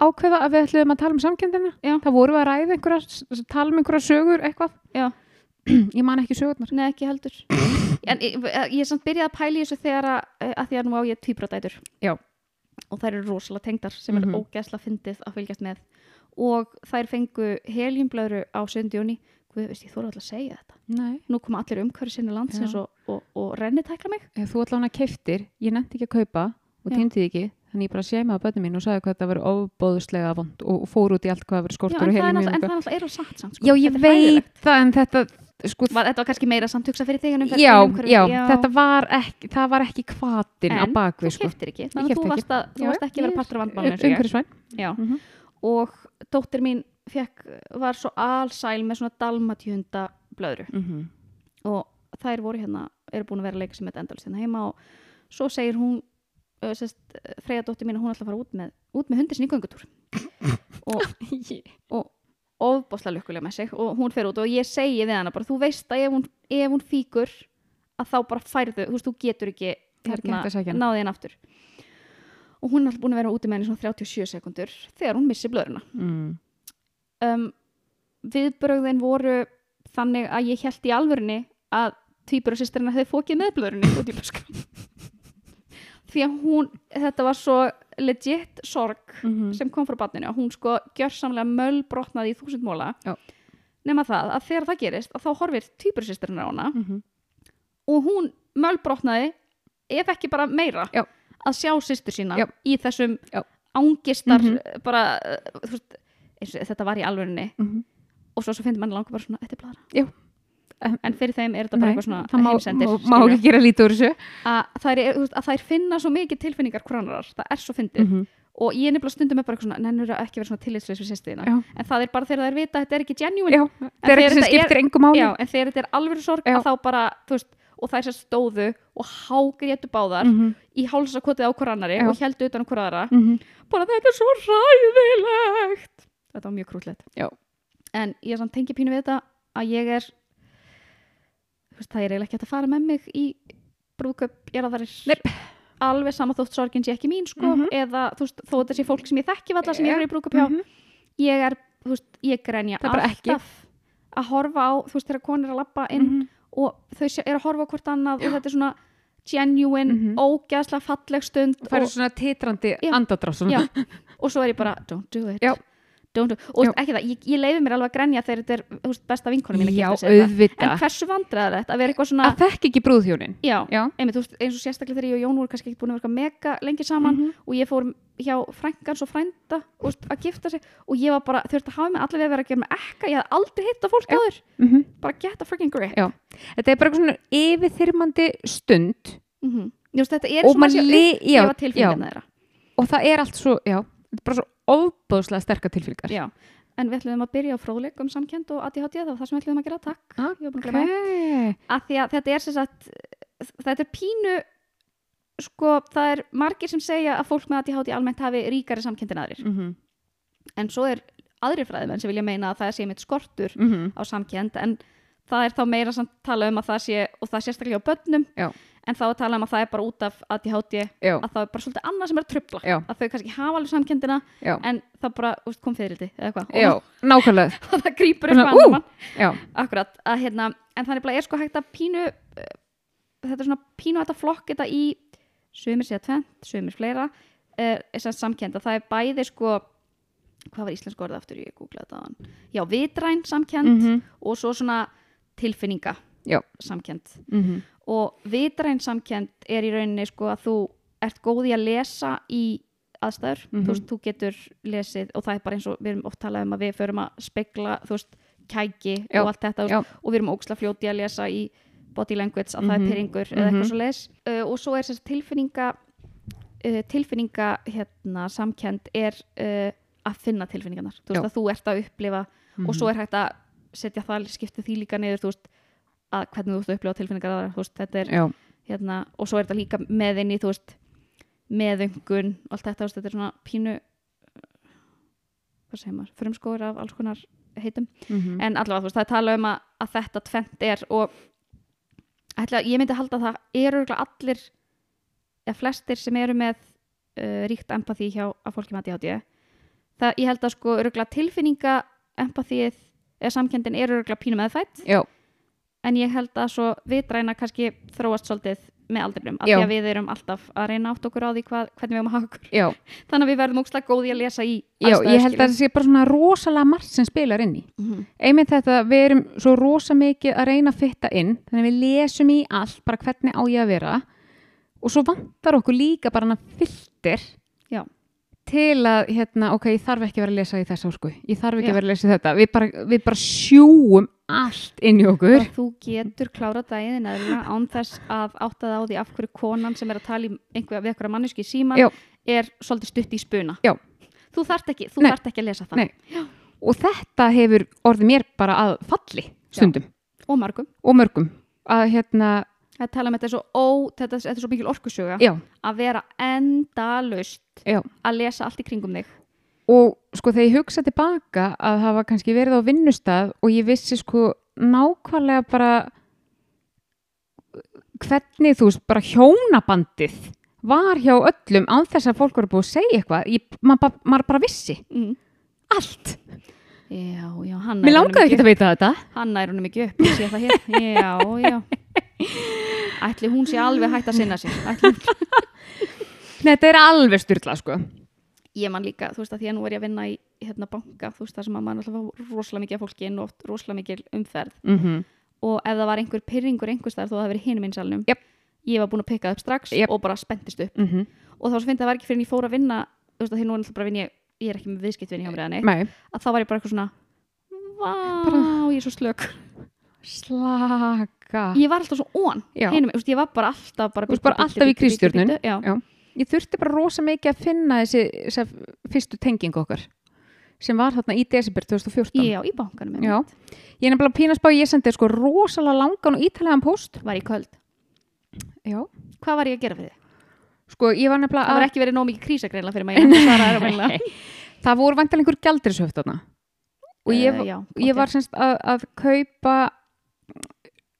B: ákveða að við ætluðum að tala um samkendina,
A: Já.
B: þá vorum við að ræða einhverja, tala um einhverja sögur eitthvað.
A: Já.
B: (clears throat) Ég man ekki sögurnar.
A: Nei, ekki heldur. en ég, ég er samt byrjað að pæla í þessu þegar að, eh, að því að nú á ég tvíbrótætur.
B: Já.
A: Og þær eru rosalega tengdar sem er
B: Mhm.
A: ógeðslega fyndið að fylgjast með. Og þær fengu heljumblöðru á 7. júni. Guð, veist, ég þóra alltaf að segja þetta.
B: Nei.
A: Nú koma allir umhverju sinni landsins
B: Já.
A: og, og, og renni tækla mig.
B: Ef þú allan að keiftir, ég nefndi ekki að kaupa og
A: Já.
B: týndi því ekki, þannig ég bara séma á bönni mín og sagði hvað þetta verið ofbóðuslega vond og, og fór út í allt hvað það verið
A: Já, en
B: skortur og
A: það er
B: helin
A: náttúrulega- en það er alltaf alveg satt samt. Sko.
B: Já, ég
A: Þetta er
B: veit
A: hræðilegt.
B: það en þetta, sko,
A: Var, þetta var kannski meira samt hugsa fyrir þig en um
B: já, já, þetta var ekki, það var ekki kvatin á
A: En
B: bakvið,
A: Þú
B: sko.
A: keftir ekki, þannig að
B: keypti
A: þú
B: ekki.
A: varst, að, þú
B: Já,
A: varst ekki að vera
B: ég-
A: partur af vandmálinu. eins og ég.
B: Umhverfisvæn.
A: Já.
B: Mhm.
A: og dóttir mín fekk, var svo alsæl með svona dalmatjunda blöðru
B: Mhm.
A: og þær voru hérna, eru búin að vera að leika sem þetta endalist hérna heima og svo segir hún uh, sest, freyja dóttir mín að hún ætla að fara út með, út með hundir sinni í göngutúr og, og ofbásla lukkulega með sig og hún fer út og ég segi við hana bara, þú veist að ef hún, ef hún fíkur að þá bara færðu, þú veist, þú getur ekki hérna,
B: Það er ekki hægt að sækja hana.
A: náði henn aftur og hún er alltaf búin að vera úti með henni í svona 37 sekundur þegar hún missi blöðruna
B: Mm.
A: um, viðbrögðin voru þannig að ég held í alvörunni að tvíburasýsterina hefði fókið með blöðrunni út í buskan (laughs) því að hún, þetta var svo legit sorg
B: Mhm.
A: sem kom frá barninu að hún sko gjörsamlega möll brotnaði í þúsund móla
B: Já.
A: nema það að þegar það gerist að þá horfir tvíburasýsterina á hana
B: Mhm.
A: og hún möll brotnaði ef ekki bara meira
B: Já.
A: að sjá systur sína
B: Já.
A: í þessum
B: Já.
A: ángistar mm
B: Mhm.
A: bara, uh, þú veist, eins og þetta var í alvörunni
B: Mhm.
A: og svo, svo finnir mann langar bara svona þetta er blara
B: Já.
A: en fyrir þeim er þetta bara
B: Nei,
A: eitthvað svona
B: það má,
A: heimsendir
B: má, má ekki
A: skilurðu.
B: gera lítið úr þessu
A: að þær, er, þú veist, að þær finna svo mikið tilfinningar kronarar, það er svo fyndið
B: Mhm.
A: og ég er nefnilega stundum með bara eitthvað svona nennur að ekki vera svona tillitsleis við sérstiðina
B: Já.
A: en það er bara þegar þær vita að þetta er ekki genuine
B: Já, það er
A: þegar
B: ekki sem
A: þetta er-
B: skiptir engu máli
A: Já, en þegar þetta er alvöru sorg
B: Já.
A: að þá bara, þú veist, og þær sem stóðu og hágrétu báðar
B: Mhm,
A: í hálsakotið á hver annari
B: Já.
A: og heldu utan á hver aðra
B: mhm.
A: bara þetta er svo ræðilegt þetta var mjög krútlegt
B: Já.
A: en ég er samt tengi pínu við þetta að ég er þú veist, það er eiginlega ekki hægt að fara með mig í brúðköp er að það
B: Nei.
A: er alveg sama þótt sorgin sé ekki mín sko
B: Mhm.
A: eða þú veist, þó þetta sé fólk sem ég þekki valla sem ég
B: Já.
A: er í brúðköp hjá
B: Mhm.
A: ég er, þú veist, ég grenja
B: Það er bara ekki.
A: að horfa á, þú veist, þegar konur er að lappa inn
B: Mhm.
A: og þau sé- eru að horfa á hvort annað og þetta er svona genuine,
B: Mhm.
A: ógæðslega falleg stund
B: Það
A: og,
B: færi svona titrandi
A: Já.
B: andadrá
A: Já.
B: svona. (laughs)
A: og svo er ég bara, don't do it
B: Já.
A: don't do, og
B: Já.
A: ekki það, ég, ég leiði mér alveg að grenja þegar þetta er þú veist, besta vinkonum mín að
B: Já,
A: gifta sig eitthvað. en
B: auðvitað.
A: hversu vandræðar þetta að vera eitthvað svona
B: Að þekk ekki brúðhjónin.
A: já,
B: Já.
A: einmitt, þú veist, eins og sérstaklega þegar ég og Jón voru kannski ekki búin að vera mega lengi saman
B: Mhm.
A: og ég fór hjá frængans og frænda þú veist, að gifta sig og ég var bara, þurfti að hafa mig allavega að vera að gera mig ekka, ég hafði aldrei hitt á fólk
B: Já.
A: áður,
B: Mhm.
A: bara get a freaking grip
B: Þetta er bara eitthvað svona yfirþyrmandi stund
A: mm -hmm. veist, þetta er svona
B: og,
A: um-
B: maður
A: þessi
B: li, já,
A: upplifa tilfinningarna þeirra
B: og það er allt svo, já, þetta er bara svo ofbóðslega sterkar tilfylgar.
A: Já, en við ætlum að byrja á fróðleik um samkend og ADHD, það var það sem við ætlum að gera, takk
B: Ah,
A: Ég var búin að gleyma því.
B: Okay.
A: Af því að þetta er sem sagt þetta er pínu sko, það er margir sem segja að fólk með ADHD almennt hafi ríkari samkendin aðrir
B: Mm -hmm.
A: en svo er aðrir fræðimenn sem vilja meina að það sé mitt skortur
B: Mm -hmm.
A: á samkend en það er þá meira samt tala um að það sé og það er sérstaklega á börnum
B: Já.
A: en þá er tala um að það er bara út af ADHD
B: Já,
A: að það er bara svolítið annað sem er að trubla
B: Já.
A: að þau kannski hafa alveg samkendina
B: já,
A: en það bara úst, kom fyrirliti eða eitthvað
B: já, nákvæmlega.
A: (laughs) og það grýpur
B: Svona,
A: eitthvað
B: ú!
A: annan
B: Já,
A: Akkurat, að hérna, en þannig bara er sko hægt að pínu, uh, þetta er svona pínu hægt að flokka þetta í sumir séða tvent, sumir fleira, uh, þess að samkenda, það er bæði sko, hvað var íslensk orðið aftur, ég googlaði þetta aðan, já, vitræn samkend
B: mm -hmm.
A: og svo svona tilfinninga
B: Já.
A: samkend
B: Mm
A: og vitræn samkend er í rauninni sko að þú ert góð í að lesa í aðstæður,
B: Mhm.
A: þú veist, þú getur lesið og það er bara eins og við erum oft talað um að við förum að spegla, þú veist, kæki
B: Já,
A: og allt þetta þú veist,
B: já.
A: og við erum óksla fljóti að lesa í body language að það
B: Mhm.
A: er pyrringur eða eitthvað
B: Mhm.
A: svo les uh, og svo er þess að tilfinninga uh, tilfinninga hérna samkend er uh, að finna tilfinningarnar, þú veist
B: Já.
A: að þú ert að upplifa og
B: Mhm.
A: svo er hægt að setja það skipta því líka niður, þú veist að hvernig þú ert að upplifa tilfinningar aðra, þú veist, þetta er
B: já,
A: hérna, og svo er þetta líka með inn í þú veist, meðungun allt þetta, þú veist, þetta er svona pínu eh, hvað segir maður, frumskóður af alls konar heitum
B: mm -hmm.
A: en allavega, þú veist, það er talað um að, að þetta tvent er og ætla, ég myndi halda að það eru örugglega allir eða flestir sem eru með uh, ríkt empati hjá að fólki með ADHD það, ég held að sko öruglega tilfinninga empatíið eða samkendin eru öruglega pínu meðfætt
B: já,
A: en ég held að svo vitræna kannski þróast svolítið með aldrinum af
B: Já.
A: því að við erum alltaf að reyna átt okkur á því hvað, hvernig við erum að hafa okkur
B: já,
A: þannig að við verðum ógslag góði að lesa í
B: já, ég held að það sé bara svona rosalega margt sem spilar inn í.
A: mm -hmm.
B: einmitt þetta, við erum svo rosa mikið að reyna að fitta inn, þannig að við lesum í allt, bara hvernig á ég að vera og svo vantar okkur líka bara hana filter
A: Já.
B: til að, hérna, ok, ég þarf ekki að vera að lesa í þessa orku, ég þarf ekki
A: Já.
B: að vera að lesa í þetta við bara, við bara sjúum allt inn í okkur
A: þú getur klára daginn eðla án þess að átta það á því af hverju konan sem er að tala í einhver, við einhverja manneski í síman
B: Já.
A: er svolítið stutt í spuna
B: Já.
A: þú þarft ekki, þú
B: Nei.
A: þarft ekki að lesa það
B: Nei. og þetta hefur orðið mér bara að falli stundum
A: og margum,
B: og mörgum að hérna,
A: það tala um þetta er svo, ó, þetta, þetta er svo mikil orkusjöga
B: já,
A: að vera endalaust
B: já
A: að lesa allt í kringum þig
B: og sko þegar ég hugsa tilbaka að hafa kannski verið á vinnustaf og ég vissi sko nákvæmlega bara hvernig þú veist bara hjónabandið var hjá öllum án þess að fólk voru búið að segja eitthvað ég, maður, bara- maður bara vissi
A: Mm.
B: allt,
A: Já, já, hann
B: mér langaði ekki að veita þetta
A: Hann nær honum ekki upp, ég sé það hér. Já,
B: (laughs)
A: já. Ætli hún sé alveg hægt að sinna sér. Ætli,
B: Nei, þetta er alveg styrla sko
A: ég man líka, þú veist að því að nú er ég að vinna í hérna banka, þú veist það sem að mann alltaf fá rosalega mikið af fólki inn og oft rosalega mikil umferð
B: mm
A: og ef það var einhver pyrringur einhvers þar þó að það hafi verið hinum einsalnum,
B: Jep.
A: ég var búin að pikka það upp strax
B: Jep.
A: og bara spendist upp
B: Mm -hmm.
A: og þá svo finnst það var ekki fyrir en ég fór að vinna þú veist að því nú er alltaf bara að vinna, ég, ég er ekki með viðskiptvinni hjá mér eða neitt,
B: Nei,
A: að þá var ég bara eitthvað svona Vá,
B: Bara-
A: ég er svo slök
B: slaka ég,
A: Ég var alltaf svo on
B: Ah. Já.
A: hinum, þú veist, Ég var bara alltaf bara,
B: Þú varst bara
A: bíddu,
B: alltaf í
A: bíddu, bíddu,
B: krístjörnun.
A: bíddu, já.
B: Já. þurfti bara rosa mikið að finna þessi, þessi fyrstu tenging okkar sem var þarna í desember 2014
A: já, í bankanum
B: Já.
A: einmitt.
B: Ég er nefnilega pínast bá, ég sendi sko rosalega langan og ítalegan post
A: Var ég köld
B: Já.
A: Hvað var ég að gera fyrir þig?
B: Sko, ég var nefnilega
A: Það var ekki verið nóg mikið krísagreinla fyrir maður Ég svaraði
B: (laughs)
A: þér um á meðlega
B: Það voru vantilega einhver gældrishöft þarna og ég,
A: Eh, já,
B: ég var semst að, að kaupa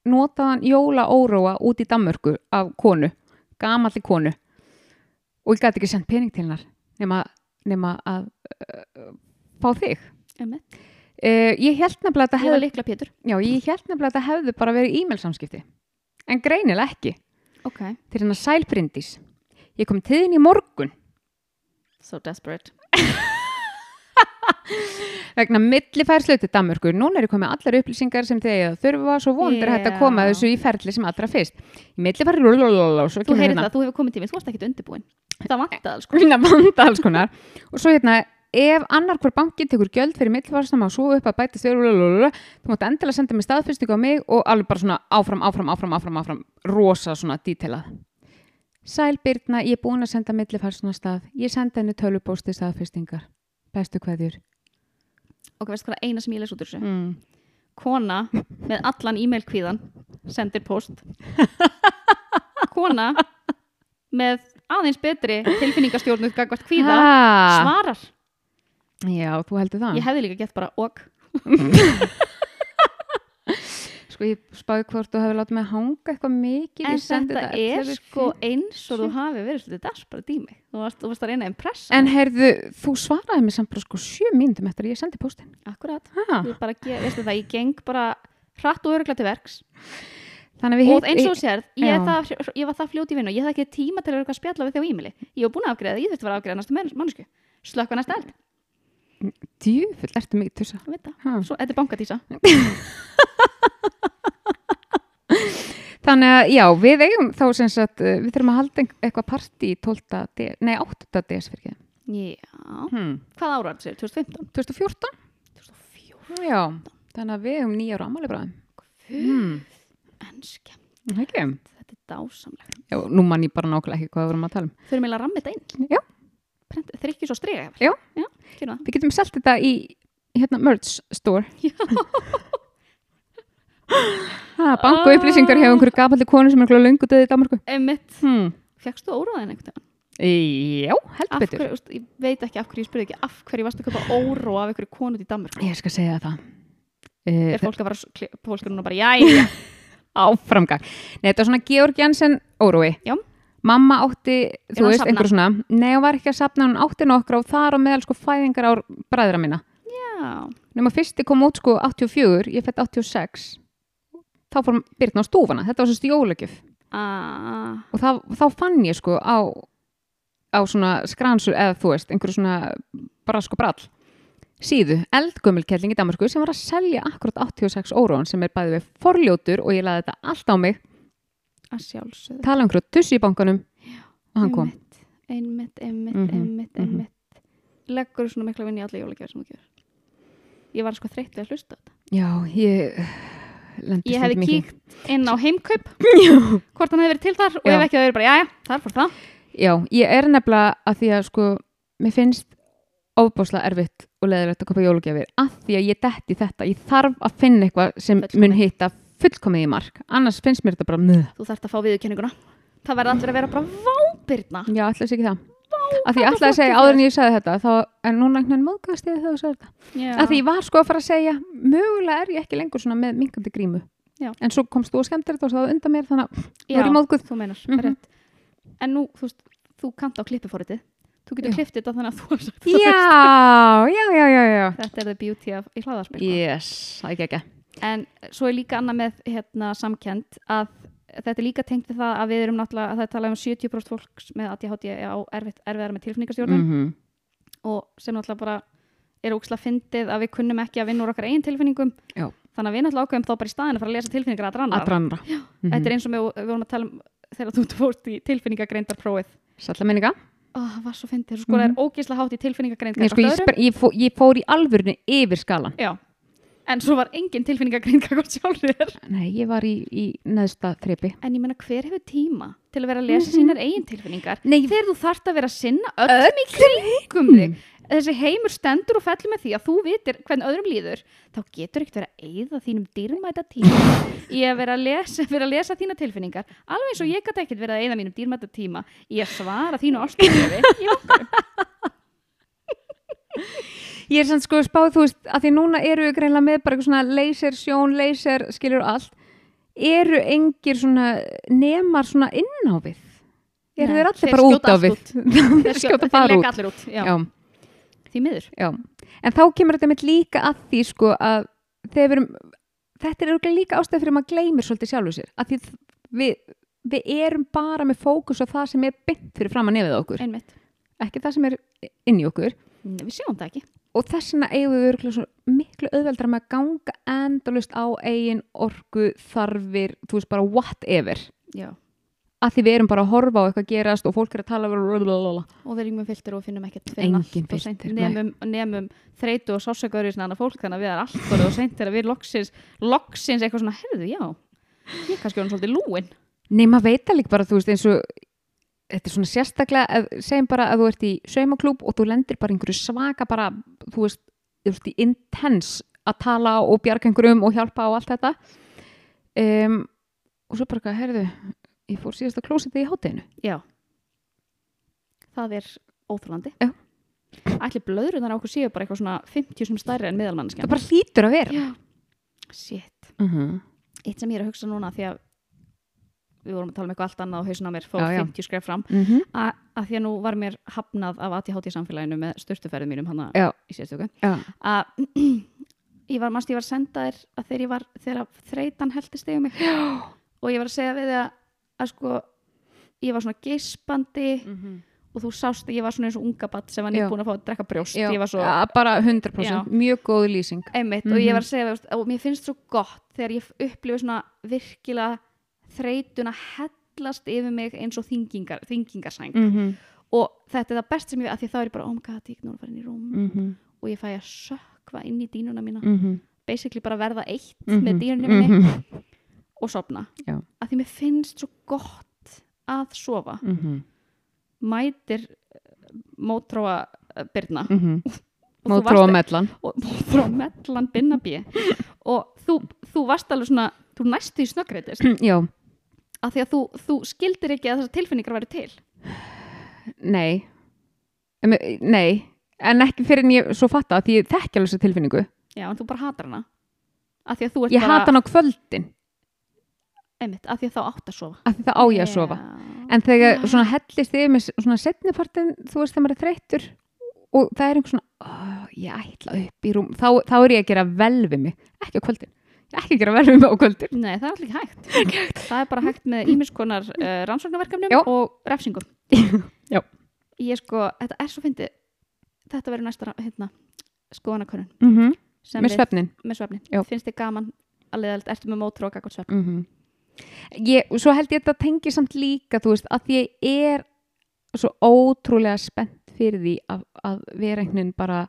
B: notaðan jólaóróa út í Danmörku af konu, gamalli konu og ég gæti ekki sendt pening til hennar nema, nema að uh, fá þig
A: Einmitt.
B: uh, Ég held nefnilega að þetta
A: Ég var
B: hefði
A: líkla Pétur
B: Já, ég held nefnilega að þetta hefði bara verið e-mail samskipti en greinilega ekki
A: Ok
B: til hennar sælbrindis Ég kom til þín í morgun
A: So desperate
B: vegna millifærslu til Danmörku. Núna eru komið allar upplýsingar sem þið eigið að þurfa, svo vondir yeah. hægt að koma
A: Já.
B: þessu í ferli sem allra fyrst. Millifærslu, lalalalala, svo
A: Þú
B: kemur
A: heyrið
B: hérna.
A: það, þú hefur komið tíminn, þú varst ekkit undirbúin Það vantaði alls sko
B: Hérna vanda alls konar. Og svo hérna, ef annar hver banki tekur gjöld fyrir millifærslu og svo upp að bæta þér, lalalala, þú mátt endilega senda mig staðfyrstingu á mig og alveg bara svona áfram, áfram, áfram, áfram, áfram, rosa svona dítelað. Sæl Birna, ég er búin að senda millifærslu stað. Ég senda henni tölubósti staðfyrstingar. Bestu kveðjur.
A: Ok, veistu hvað er eina sem ég les út úr þessu
B: Mm.
A: Kona með allan e-mail kvíðan sendir post Kona með aðeins betri tilfinningastjórnu gagvart kvíða
B: Ah.
A: svarar
B: Já, þú heldur það.
A: Ég hefði líka gett bara ok
B: Sko ég spáði hvort þú hefði látið mig hanga eitthvað mikið.
A: En
B: ég sendi
A: þetta
B: þetta
A: er
B: 11
A: sko
B: fyrir-
A: eins og þú hafi verið svolítið desperate í mig Þú varst, þú varst að reyna að impressa
B: En heyrðu, þú svaraði mér samt bara sko sjö mínútum eftir að ég sendi póstinn.
A: Akkurat
B: Ha.
A: Ég bara, ge- veistu það, ég geng bara hratt og öruglega til verks
B: Þannig að við
A: og eins og þú sérð, ég, er
B: Já.
A: það, ég var það fljót í vinnu ég hafði ekki tíma til að vera eitthvað að spjalla við þig á e-maili ég var búin að afgreða, ég þurfti að vera að afgreða næstu menn- mannsku slökka næsta eld,
B: Djúfull, ertu mikið tussa.
A: þú veit það
B: Ha.
A: Svo, þetta er bankadísa,
B: Þannig að já, við eigum þá sem sagt, uh, við þurfum að halda ein- eitthvað partí 12. des, nei 8. des fyrir ekki.
A: já
B: Hmm.
A: hvað ára þetta sér, 2015?
B: 2014?
A: 2004,
B: Já, þannig að við eigum nýja ára ammali bráðum. Hmm.
A: Hm. en skemmt,
B: Ekki.
A: þetta er dásamlegt
B: Já, nú mann ég bara nákvæmlega ekki hvað við vorum að tala um.
A: þau eru meila að ramma þetta inn
B: Já.
A: Prent, þrykki svo strega
B: Já.
A: já gerum það.
B: Við getum selt þetta í hérna merch store. Ha, banku upplýsingar hefur einhverju gafaldi konu sem er eitthvað löngu döðið í Danmarku.
A: Einmitt,
B: Hmm.
A: fékkst þú óróðin einhvern veginn?
B: Já, heldur
A: Af
B: betur.
A: hverju, úst, ég veit ekki af hverju, ég spurði ekki af hverju varstu að köpa óró af einhverju konu út í Danmark
B: Ég skal segja það. Uh,
A: Er fólk að vera, fólk er núna bara, jæja
B: áframgang. Nei, þetta var svona Georg Jensen órói.
A: Já.
B: Mamma átti,
A: hún
B: þú
A: að
B: veist,
A: safna?
B: einhver svona. Nei, hún var ekki að sapna, hún átti nokkra og þar á meðal sko fæðingar ár bræðra minna.
A: Já,
B: Nefnum að fyrsti kom út sko 84, ég fætt 86. Þá fór Birna á stúfana. Þetta var svo stjólagjöf.
A: aaa
B: og þá, þá fann ég sko á, á svona skransur eða þú veist, einhverju svona brask og brall síðu, eldgömmulkelling í Danmarku sem var að selja akkurat 86 óróan sem er bæði við forljótur og ég laði þetta allt á mig,
A: að sjálfsögðu
B: tala um hverju tussi í bankanum og hann kom.
A: einmitt, einmitt, einmitt,
B: Mhm,
A: einmitt,
B: mhm.
A: einmitt. leggur svona mikla vinn í alla jólagjafir sem þú gefur ég var sko þreytt við að hlusta á þetta
B: Já, ég lendi
A: ég hefði
B: stundum í því.
A: kíkt inn á
B: (laughs)
A: heimkaup hvort hann hefði verið til þar og ef
B: Já.
A: ekki það verið bara, jæja, þar fór það
B: Já, ég er nefnilega að því að sko, mér finnst ofbáslega erfitt og leðilegt að kaupa jólugjafir að því að ég detti þetta, ég þarf að finna eitthvað sem mun
A: Fullkomið.
B: hitta fullkomið í mark, annars finnst mér þetta bara nöð.
A: þú þarft að fá viðurkenninguna það verða allir að vera bara vábyrna
B: Já, ætlaði ekki það. Af því ég
A: hvað
B: ætlaði að segja
A: flott í
B: áður en ég sagði þetta, þá en núna einhvern veginn móðgast ég þegar þú sagði þetta. Af því ég var sko að fara að segja, mögulega er ég ekki lengur svona með minkandi grímu.
A: Já.
B: En svo komst þú og skemmtir þetta og sagði undan mér þannig að nú er ég móðguð.
A: þú meinar,
B: Mhm.
A: rétt en nú, þú veist, þú kanta á klippiforritið þú getur
B: Já.
A: klippið þetta þannig að þú har sagt
B: Já, já, já, já, já.
A: þetta er the beauty of, í hlaðarspil sko.
B: Yes, það ekki ekki.
A: en svo er líka annað með hérna, samkend að þetta er líka tengt við það að við erum náttúrulega að það er talað um 70% fólks með ADHD á erfitt, erfiðar með tilfinningastjórnum
B: -hmm.
A: og sem náttúrulega bara er óksla fyndið að við kunnum ekki að vinna úr okkar eigin tilfinningum
B: Já.
A: þannig að við náttúrulega ákveðum þá bara í staðin að fara að lesa tilfinningar að drannar
B: Aðbrannra. Mhm.
A: þetta er eins og við, við vorum að tala um þegar þú fórst í tilfinningagreindarprófið
B: Salla minninga.
A: Ó, það var svo fyndið, svo sko það er ógisla hátt í tilfinningagreind
B: Mhm. Ég, sko, ég,
A: gagnvart öðrum.
B: spyr, ég, fó, ég fór í alvörinu yfir skalan.
A: Já. en svo var engin tilfinningagreind kakvart sjálfur þér
B: Nei, ég var í, í neðsta þrepi.
A: en ég meina hver hefur tíma til að vera að lesa sínar eigin tilfinningar
B: Nei,
A: þegar þú þarft að vera að sinna Mhm. öllum í kringum þig þessi heimur stendur og fellur með því að þú vitir hvern öðrum líður þá getur ekkert verið að eyða þínum dýrmæta tíma í að vera að lesa, vera að lesa þína tilfinningar alveg eins og ég gæti ekkert verið að eyða mínum dýrmæta tíma í að svara þínu (laughs) ástæðulefi
B: ég er sann sko spáð, þú veist, að því núna eru við greinlega með bara eitthvað svona laser, sjón, laser, skilur allt. Eru engir svona nemar svona inn á við? Eru
A: Nei,
B: þeir allir
A: þeir
B: bara út
A: skjóta
B: á
A: allt
B: við?
A: út.
B: (laughs) Þeir skjóta bara út.
A: allir út, já,
B: Já.
A: því miður
B: Já, en þá kemur þetta mitt líka að því sko að þegar við erum, þetta er örugglega líka ástæð fyrir að maður gleymir svolítið sjálfu sér, að því þ- við, við erum bara með fókus á það sem er bynd fyrir fram að nefið á okkur,
A: einmitt,
B: ekki það sem er inn í okkur
A: Nei, við sjáum það ekki
B: og þess vegna eigum við örugglega svo miklu auðveldar með að ganga endalust á eigin orku, þarfir, þú veist bara whatever,
A: já.
B: að því við erum bara að horfa á eitthvað gerast og fólk er að tala um blablabla.
A: og við erum með filter og finnum ekkert fyrir
B: Engin
A: allt og
B: filter,
A: seint
B: nei.
A: nemum, nemum þreytu og sásökaður í svona annað fólk þannig að við erum allt orðið og seint þegar við loksins loksins eitthvað svona, herðu, já ég er kannski orðin svolítið lúin
B: Nei, maður veit það líka bara, þú veist, eins og þetta er svona sérstaklega, að, segjum bara að þú ert í saumaklúb og þú lendir bara í einhverju svaka bara, þú veist, þú veist, í intense að tala og bjarga einhverjum og hjálpa og allt þetta um, og svo bara, eitthvað, herðu, ég fór síðast að klósa þetta í hátteginu.
A: já það er óþrólandi
B: Já.
A: ætli blöðrunar á okkur séu bara eitthvað svona 50 sem stærri en miðalmannskjan
B: Það bara hlýtur að vera.
A: já, shit
B: Uh -huh.
A: eitt sem ég er að hugsa núna því að við vorum að tala um eitthvað allt annað og hausin á mér fór
B: Já, já.
A: 50 skref fram
B: Mm -hmm.
A: A, að því að nú var mér hafnað af ATHT samfélaginu með störtuferðum mínum hana
B: Já.
A: í sérstöku
B: Já.
A: að (clears throat) ég var mannst ég var senda þér að þegar ég var þegar að þreytan heldist yfir mig
B: Já.
A: og ég var að segja við þig að, að sko ég var svona geispandi og þú sást að ég var svona eins og unga bat sem var
B: Já.
A: nýbúin að fá að drekka brjóst
B: Já.
A: ég var svo
B: Já, bara 100%,
A: Já.
B: mjög góð lýsing.
A: einmitt og
B: Mhm.
A: ég var að segja við, og mér finnst svo gott þegar ég upplifu svona virkilega þreytuna hellast yfir mig eins og þyngingar, þyngingarsæng
B: Mm -hmm.
A: og þetta er það best sem ég að því að þá er ég bara oh my god, ég er núna farin í rúm
B: Mm -hmm.
A: og ég fæ að sökva inn í dýnuna mína
B: Mm -hmm.
A: basically bara verða eitt
B: Mhm,
A: með dýrunum minni
B: Mm
A: og sofna
B: Já.
A: að því mér finnst svo gott að sofa mætir eh, mótróa byrna og þú
B: Má
A: varst- e-
B: tróa mellan.
A: og mótróa mellan binnabí og þú, þú varst alveg svona þú næstu í snöggreitist
B: Já.
A: að því að þú, þú skildir ekki að þessar tilfinningar væru til
B: Nei Em, Nei, en ekki fyrir en ég svo fatta því ég þekki alveg þessa tilfinningu
A: já, en þú bara hatar hana að því að þú ert
B: Ég
A: bara
B: hata hann á kvöldin
A: einmitt, að því að þá átt að sofa
B: af því það á ég að sofa En þegar svona hellist yfir með svona setnipartin þú veist þegar maður er þreyttur og það er einhver svona, ó, ég ætla upp í rúm þá, þá er ég að gera vel við mig ekki á kvöldin, ég er ekki að gera vel við mig á kvöldin
A: Nei, það er allir ekki hægt. það er bara hægt með ímiskonar uh, rannsóknarverkefnum
B: Já.
A: og refsingum.
B: (laughs) Já.
A: Ég sko, þetta er svo fyndið, þetta verður næsta ra- hérna, skoðanakönnun
B: mm -hmm.
A: sem
B: með
A: við-
B: svefnin
A: með svefnin.
B: Já.
A: Finnst þið gaman að leiðalt, ertu með mótrók akkur svefn?
B: mm ég, og Svo held ég að þetta tengi samt líka þú veist, að því ég er svo ótrúlega spennt fyrir því að, að vera einhvern veginn bara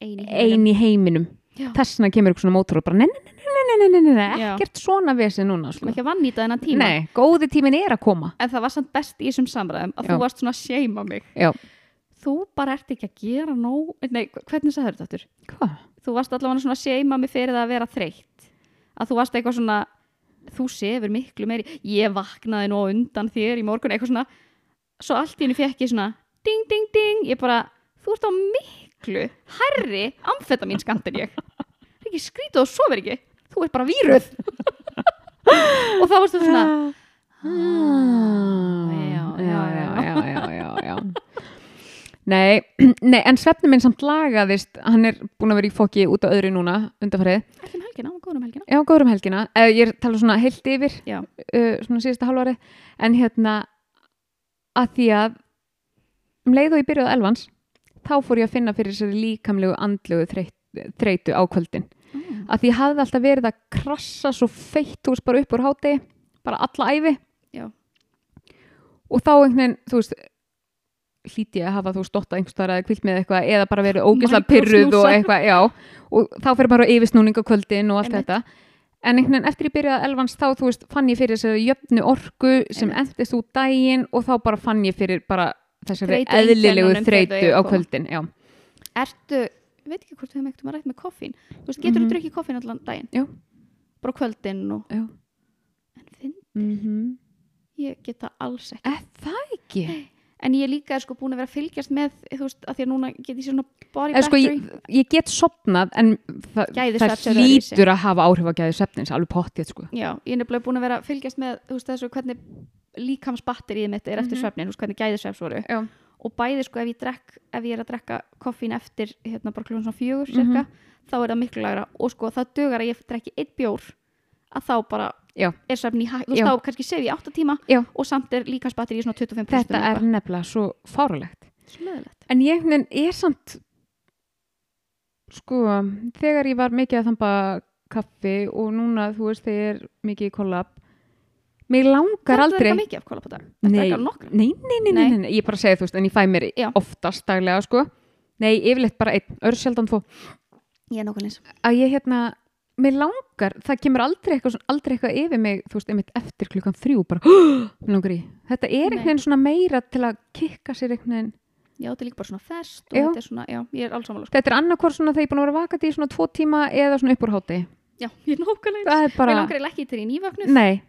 A: Einu.
B: ein í heiminum
A: Já.
B: þess vegna kemur eitthvað svona mótor og bara nei, nei, nei, nei, nei, nei, nei, nei, nei,
A: Já.
B: ekkert svona vesi núna
A: Sem
B: sko.
A: ekki að vannýta þennan tíma.
B: nei, góði tímin er að koma
A: En það var samt best í þessum samræðum að
B: Já.
A: þú varst svona að seima mig.
B: já,
A: Þú bara ert ekki að gera nóg, nei, hvernig sagður þetta aftur?
B: hvað?
A: þú varst allavega svona að seima mig fyrir það að vera þreytt að þú varst eitthvað svona þú sefur miklu meiri ég vaknaði nú á undan þér í morgun eitthvað svona svo allt í henni fekk ég svona ding ding ding ég bara þú ert á miklu herri amfetamín skandir ég það er ekki skrítið og sofir ekki þú ert bara víruð (laughs)
B: (laughs)
A: og þá varst þú svona
B: Ah,
A: Já, já,
B: já, já, já, já, já, Nei, (clears throat) nei, en svefnum minn samt lagaðist, hann er búin að vera í fokki út á öðru núna, undanfarið.
A: Ekki um helgina, hann var góður um helgina.
B: Já, góður um helgina. Eh, ég er að tala svona heilt yfir,
A: Já.
B: uh, svona síðasta halvari, en hérna, að því að um leið og ég byrjuði að elvans, þá fór ég að finna fyrir þessari líkamlegu andlegu þreyt- þreytu á kvöldin.
A: Mm.
B: Að því ég hafði alltaf verið að krassa svo feitt hús bara upp úr háti, bara alla æfi.
A: Já.
B: Og þá einhvern veginn, þú veist, hlíti ég að hafa þú stótt að einhverstaðar eða kvilt með eitthvað eða bara verið ógislega pyrruð og
A: Microsnúsa.
B: eitthvað, já. Og þá fyrir bara á yfirsnúning á kvöldin og allt
A: Einmitt.
B: þetta. En einhvern veginn eftir ég byrjaði að elvans þá, þú veist, fann ég fyrir þessari jöfnu orku sem endist út daginn og þá bara fann ég fyrir bara þessari
A: Þreytu
B: eðlilegu
A: einkennunum þegar þau
B: þreytu á
A: koma.
B: kvöldin, já.
A: Ertu, ég veit ekki hvort þau mektum að rætt með koffín. Þú veist, getur þú
B: Mhm.
A: drukkið koffín allan daginn?
B: Já.
A: Bara á kvöldin og...
B: Já.
A: En finn,
B: Mm
A: Mhm. ég geta alls ekki.
B: það ekki?
A: En ég líka er sko búin að vera að fylgjast með, þú veist, að því að núna get ég svona body
B: Eða sko,
A: battery.
B: ég, ég get sopnað en það, það
A: Gæðisvefns eru öðruvísi.
B: hlýtur að hafa áhrif á gæði svefnins, alveg pottið sko.
A: Já, ég er nefnilega búin að vera að fylgjast með þú veist þessu hvernig líkamsbatterið mitt er eftir
B: Mhm.
A: svefnin, þú veist hvernig gæðisvefs voru
B: Já.
A: og bæði sko ef ég drekk ef ég er að drekka koffín eftir hérna bara kljóðan svona fjögur
B: Mhm.
A: cirka þá er það miklu lagra og sko það dugar að ég drekki einn bjór að þá bara
B: Já.
A: er svefn í hæ- þú
B: Já.
A: veist þá kannski sef ég 8 tíma
B: Já.
A: og samt er líkamsbatterið í svona 25%
B: Þetta er nefnilega svo fárulegt.
A: slöðilegt
B: En ég men, er samt, sko, þegar ég var mikið að þamba kaffi og núna, þú veist, þegar ég er mikið í kollab, mig langar aldrei...
A: mikið af kóla på dag Þetta er ekki nokkra
B: nei, nei, nei, nei,
A: Nei.
B: nei, nei, ég bara segi þú veist, en ég fæ mér
A: Já.
B: oftast daglega, sko. Nei, yfirleitt bara einn, örsjaldan tvo.
A: Ég er nokkuð eins
B: að ég hérna mér langar, það kemur aldrei eitthvað, svona- aldrei eitthvað yfir mig, þú veist, einmitt eftir klukkan þrjú bara, (gasps) mér langar í þetta er
A: Nei.
B: einhvern veginn svona meira til að kikka sér einhvern veginn,
A: Já, þetta er líka bara svona fest og
B: Já.
A: þetta er svona, já, ég er alls samanlega sko.
B: þetta er annarkvort svona þegar ég er búin að vera vakandi í svona tvo tíma eða svona upp úr háti
A: Já, ég er nákvæmlega eins
B: það er
A: Mér
B: bara,
A: langar eiginlega ekki til í nývögnuð
B: nei,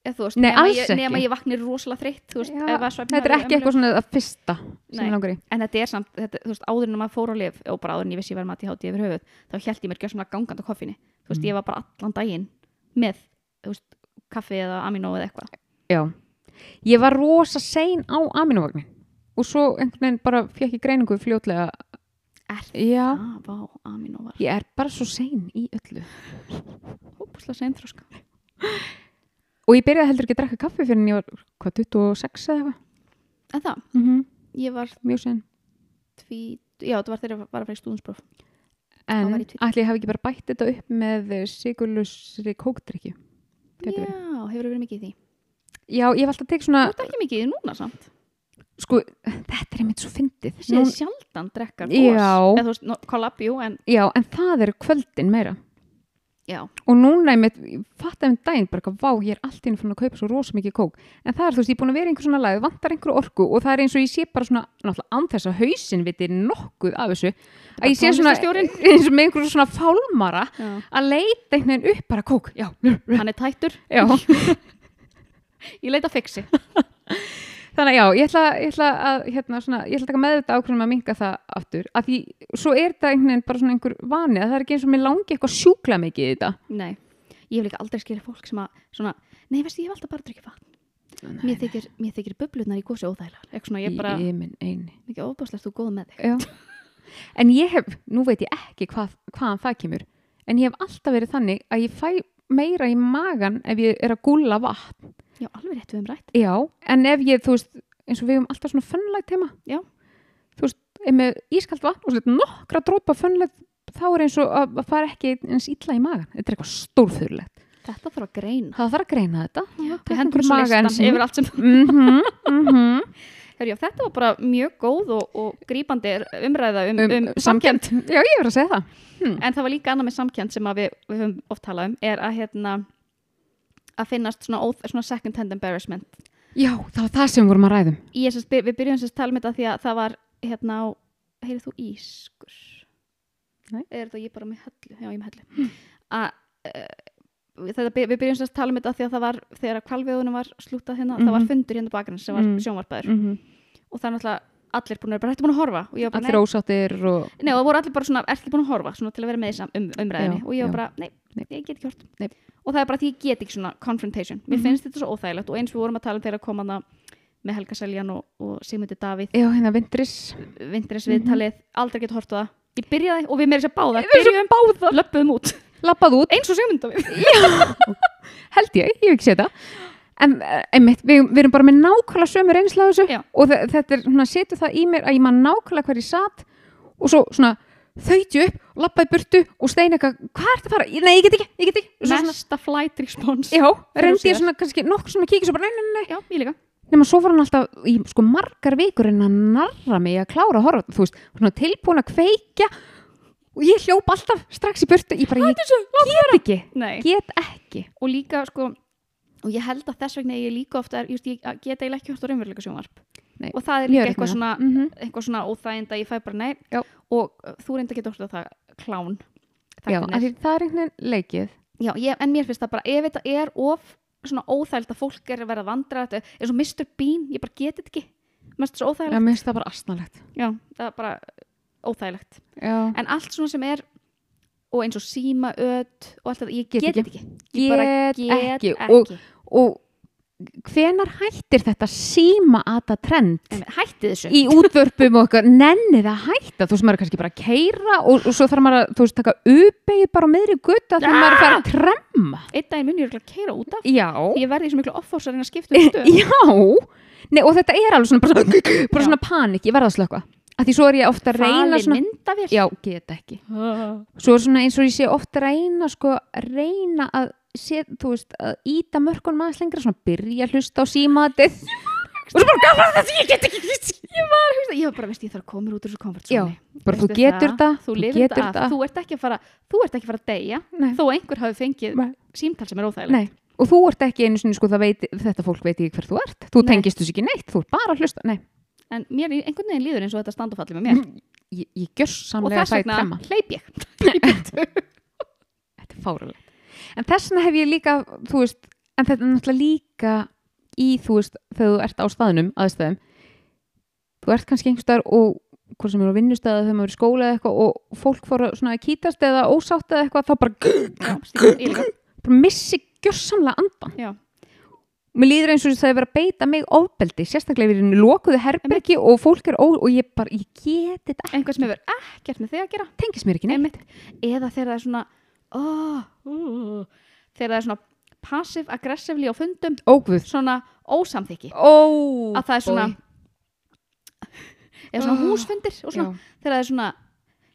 A: Ef þú veist,
B: Nei,
A: nema
B: alls
A: ég,
B: ekki.
A: nema ég vaknir rosalega þreytt, þú veist,
B: Já,
A: ef að svefn
B: þetta er ekki eitthvað svona að fyrsta sem
A: Nei.
B: mér langar í
A: En þetta er samt, þetta, þú veist, áður en maður fór á lif og bara áður en ég vissi ég var mati hátíð yfir höfuð, þá held ég mér gjössamlega gangandi á koffinni. Þú veist,
B: Mm.
A: ég var bara allan daginn með, þú veist, kaffi eða aminó eða eitthvað.
B: já, ég var rosa sein á aminovagnin og svo einhvern veginn bara fekk ég greiningu fljótlega
A: Er
B: já,
A: það? Vá, aminó var
B: ég er bara svo sein í öllu
A: hópuslega seinþróska.
B: og ég byrjaði heldur ekki að drakka kaffi fyrir en ég var hvað, 26 eða eitthvað
A: En það,
B: mm
A: ég var
B: mjög sen
A: tví, já, þetta var þegar ég var að fara í stúðinspróf.
B: en
A: Þá var ég tvítug.
B: ætli ég hafi ekki bara bætt þetta upp með sigurlusri kókdrykju
A: Já,
B: Gæti verið.
A: hefur verið mikið í því.
B: já, ég hef alltaf tekið svona
A: Þú ert ekki mikið í því núna samt.
B: sko, þetta er einmitt svo fyndið
A: Þessi Nú...
B: Nú-
A: sjaldan drekkar gos.
B: Já.
A: Eða þú veist, no, kollab, jú, en
B: já, en það eru kvöldin meira
A: já.
B: og núna einmitt, ég fatt einmitt daginn bara eitthvað, vá, ég er allt í einu fann að kaupa svo rosa mikið kók en það er, þú veist, ég er búin að vera í einhver svona læð vantar einhver orku og það er eins og ég sé bara svona náttúrulega án þess að hausin viti nokkuð af þessu að ég sé svona
A: tónlistarstjórinn.
B: (laughs) eins og með einhverjum svona fálmara
A: já.
B: að leita einhvern veginn upp bara kók já,
A: hann er tættur,
B: já.
A: ég leita fixi
B: þannig að já, ég ætla, ég ætla að hérna, svona, ég ætla að taka með þetta ákveðum að minga það aftur, af því svo er þetta einhvern veginn bara svona einhver vani að það er ekki eins og mér langi eitthvað sjúkla mikið í þetta
A: nei, ég hef líka aldrei skilja fólk sem að svona, nei veistu, ég hef alltaf bara að drikja vatn mér þykir, mér þykir bublurnar í gósi óþægilegar eitthvað svona, ég er bara,
B: ég minn eini
A: mikið óbáslegt þú góð með þig
B: já. en ég hef, nú veit ég ekki hvað, hvaðan það kemur en ég hef alltaf verið þannig að ég fæ meira í magan ef ég er að gúlla vatn
A: já, alveg rétt við um rætt,
B: já, en ef ég, þú veist eins og við hefum alltaf svona fönnlægt heima
A: Já.
B: þú veist, ef með ískalt vatn og svona nokkra drópa fönnlægt þá er eins og að, að fara ekki eins illa í magan þetta er eitthvað stórfurlegt
A: þetta þarf að greina
B: það þarf að greina þetta
A: við hendur þessu
B: maga
A: listan
B: enn sinni.
A: yfir allt sem
B: mhm, mhm
A: Herjá, þetta var bara mjög góð og, og grípandi umræða um, um, samkjönd
B: já, ég verið að segja það
A: en það var líka annað með samkjönd sem að við, við höfum oft talað um er að hérna að finnast svona, óþ- svona second hand embarrassment
B: já, það var það sem við vorum að um. ræðum
A: ég, sest, við byrjum sérst tala um þetta því að það var hérna á, heyrðu þú ískur
B: Nei.
A: eða er það ég bara með hellu já ég er með hellu að uh, þetta, by- við byrjum sérst tala um þetta því að það var þegar að kvalviðunum var slútað hérna það
B: Mhm.
A: var fundur hérna bakgrunn sem var
B: Mm.
A: mm. sjónvarpaður
B: mm -hmm.
A: og það er náttúrulega allir búin að vera bara hættu búin að horfa og ég var bara
B: allir ósáttir og
A: nei, nei og það voru allir bara svona ertu búin að horfa svona til að vera með þessam um, umræðinni
B: Já,
A: og ég
B: já.
A: var bara nei,
B: Nei.
A: ég get ekki hort
B: Nei.
A: og það er bara því ég get ekki svona confrontation mér
B: Mhm.
A: finnst þetta svo óþægilegt og eins við vorum að tala um þegar að koma þarna með Helga Seljan og, og Sigmundi Davíð
B: Já, hérna vindris.
A: vindrins
B: Mhm.
A: viðtalið, aldrei gett hort á það ég byrjaði og við meira sér báða
B: Við erum báða.
A: löppuðum út,
B: Lappað út,
A: eins og Sigmundi Davíð
B: held ég, ég hef ekki séð það. En eh, einmitt, við, við erum bara með nákvæmlega sömu reynsla af þessu
A: Já.
B: og þe- þetta er svona, setur það í mér að ég man nákvæmlega hver ég satt og svo svona þauti upp, lappaði burtu og steina eitthvað, hvað ertu að fara? Ég- Nei, ég get ekki, ég get ekki. Og svo svona,
A: mesta flight response
B: já,
A: Fyrir
B: reyndi
A: sér.
B: ég svona kannski nokkur sem að kíkja svo bara, nei, nei, nei,
A: já, ég líka
B: nema svo var hann alltaf í sko margar vikur en að narra mig í að klára að horfa þú veist, svona tilbúin að kveikja og ég hljóp alltaf strax í burtu ég bara, ég get ekki
A: Nei.
B: get ekki
A: og líka sko og ég held að þess vegna ég líka ofta just, ég get eiginlega ekki hort á raunveruleika sjónvarp
B: Nei,
A: og það Mm. er
B: mjög
A: líka eitthvað
B: erfitt
A: svona,
B: með það. Mhm.
A: eitthvað svona óþægind að ég fæ bara nei
B: Já.
A: og uh, þú reynda getur hort á það klán
B: já, af því það er einhvern veginn leikið
A: Já, ég, en mér finnst það bara, ef þetta er of svona óþægild að fólk er að vera að vandra þetta er svo Mr. Bean, ég bara geti þetta ekki Mér finnst það svo
B: já,
A: óþægilegt,
B: mér finnst það bara astnalegt
A: já, það er bara óþægilegt
B: já,
A: en allt svona sem er og eins og síma öð og allt það, ég
B: Get
A: get
B: ekki.
A: þetta ekki Ég bara
B: get, ekki,
A: Og,
B: Og, og hvenar hættir þetta síma að það trend
A: hætti þessu
B: í útvörpum og eitthvað nennið að hætta þú veist maður er kannski bara að keira og, og svo þarf maður að þú veist taka uppeigð bara á miðri gutta þegar maður er að fara að tremma
A: Einn daginn mun ég örugglega að keira út af
B: já,
A: því ég verði í svo miklu offórsar en að
B: (laughs)
A: skipta um stöð
B: já Nei, og þetta er alveg svona bara, svona- bara
A: Já.
B: svona panik, ég verða að slökka að því svo er ég ofta að reyna
A: Falin
B: svona,
A: myndavél
B: já, get ekki
A: Ah.
B: svo er svona eins og ég sé ofta að reyna sko, reyna að sé, þú veist, að íta mörkunum aðeins lengra svona byrja að hlusta á símatið
A: (laughs)
B: og svo bara gafar þetta, ég get ekki
A: Ég var, hugsa- ég var bara, veist, ég þarf að koma mér út úr þessu
B: já,
A: komfortzóni
B: bara þú
A: Veistu
B: getur það,
A: þú lifir
B: getur
A: þetta af, þú ert ekki að fara þú ert ekki að fara að deyja
B: Nei.
A: þó að einhver hafi fengið
B: Nei.
A: símtal sem er óþægilegt
B: Nei, og þú ert ekki einu sinni sko, það veit, þetta fólk veit ekki hver þú ert þú
A: Nei.
B: tengist þessu ekki neitt, þú ert bara að hlusta nei,
A: en mér í- einhvern veginn líður eins og þetta standofalli með mér
B: ég, ég gjör
A: og
B: samlega
A: þess
B: það í
A: vegna
B: tremma
A: hleyp
B: (laughs)
A: ég
B: þetta er fárulegt en þess vegna hef ég líka, þú veist en þetta er náttúrulega líka í þú veist, þegar þú ert á staðnum aðstæðum, þú ert kannski einhverstaðar og hvort sem er á vinnustæða þegar maður er í skóla eða eitthvað og fólk fór að, svona, að kýtast eða ósátt eða eitthvað þá bara,
A: Já, stíl- ég líka.
B: bara missi gjörsamlega andan
A: Já.
B: mér líður eins og það er verið að beita mig ofbeldi, sérstaklega við erum lokuðu herbergi og fólk er ó og ég bara, ég get þetta
A: einhvern sem hefur ekkert með þig að gera
B: tengist mér ekki neitt
A: Einmitt. eða þegar það er svona oh, uh, þegar það er svona passive aggressively á fundum
B: ógvöð
A: svona ósamþykki
B: Ó,
A: að það er svona
B: boy.
A: (laughs) eða svona
B: Ah,
A: húsfundir og svona, þegar það er svona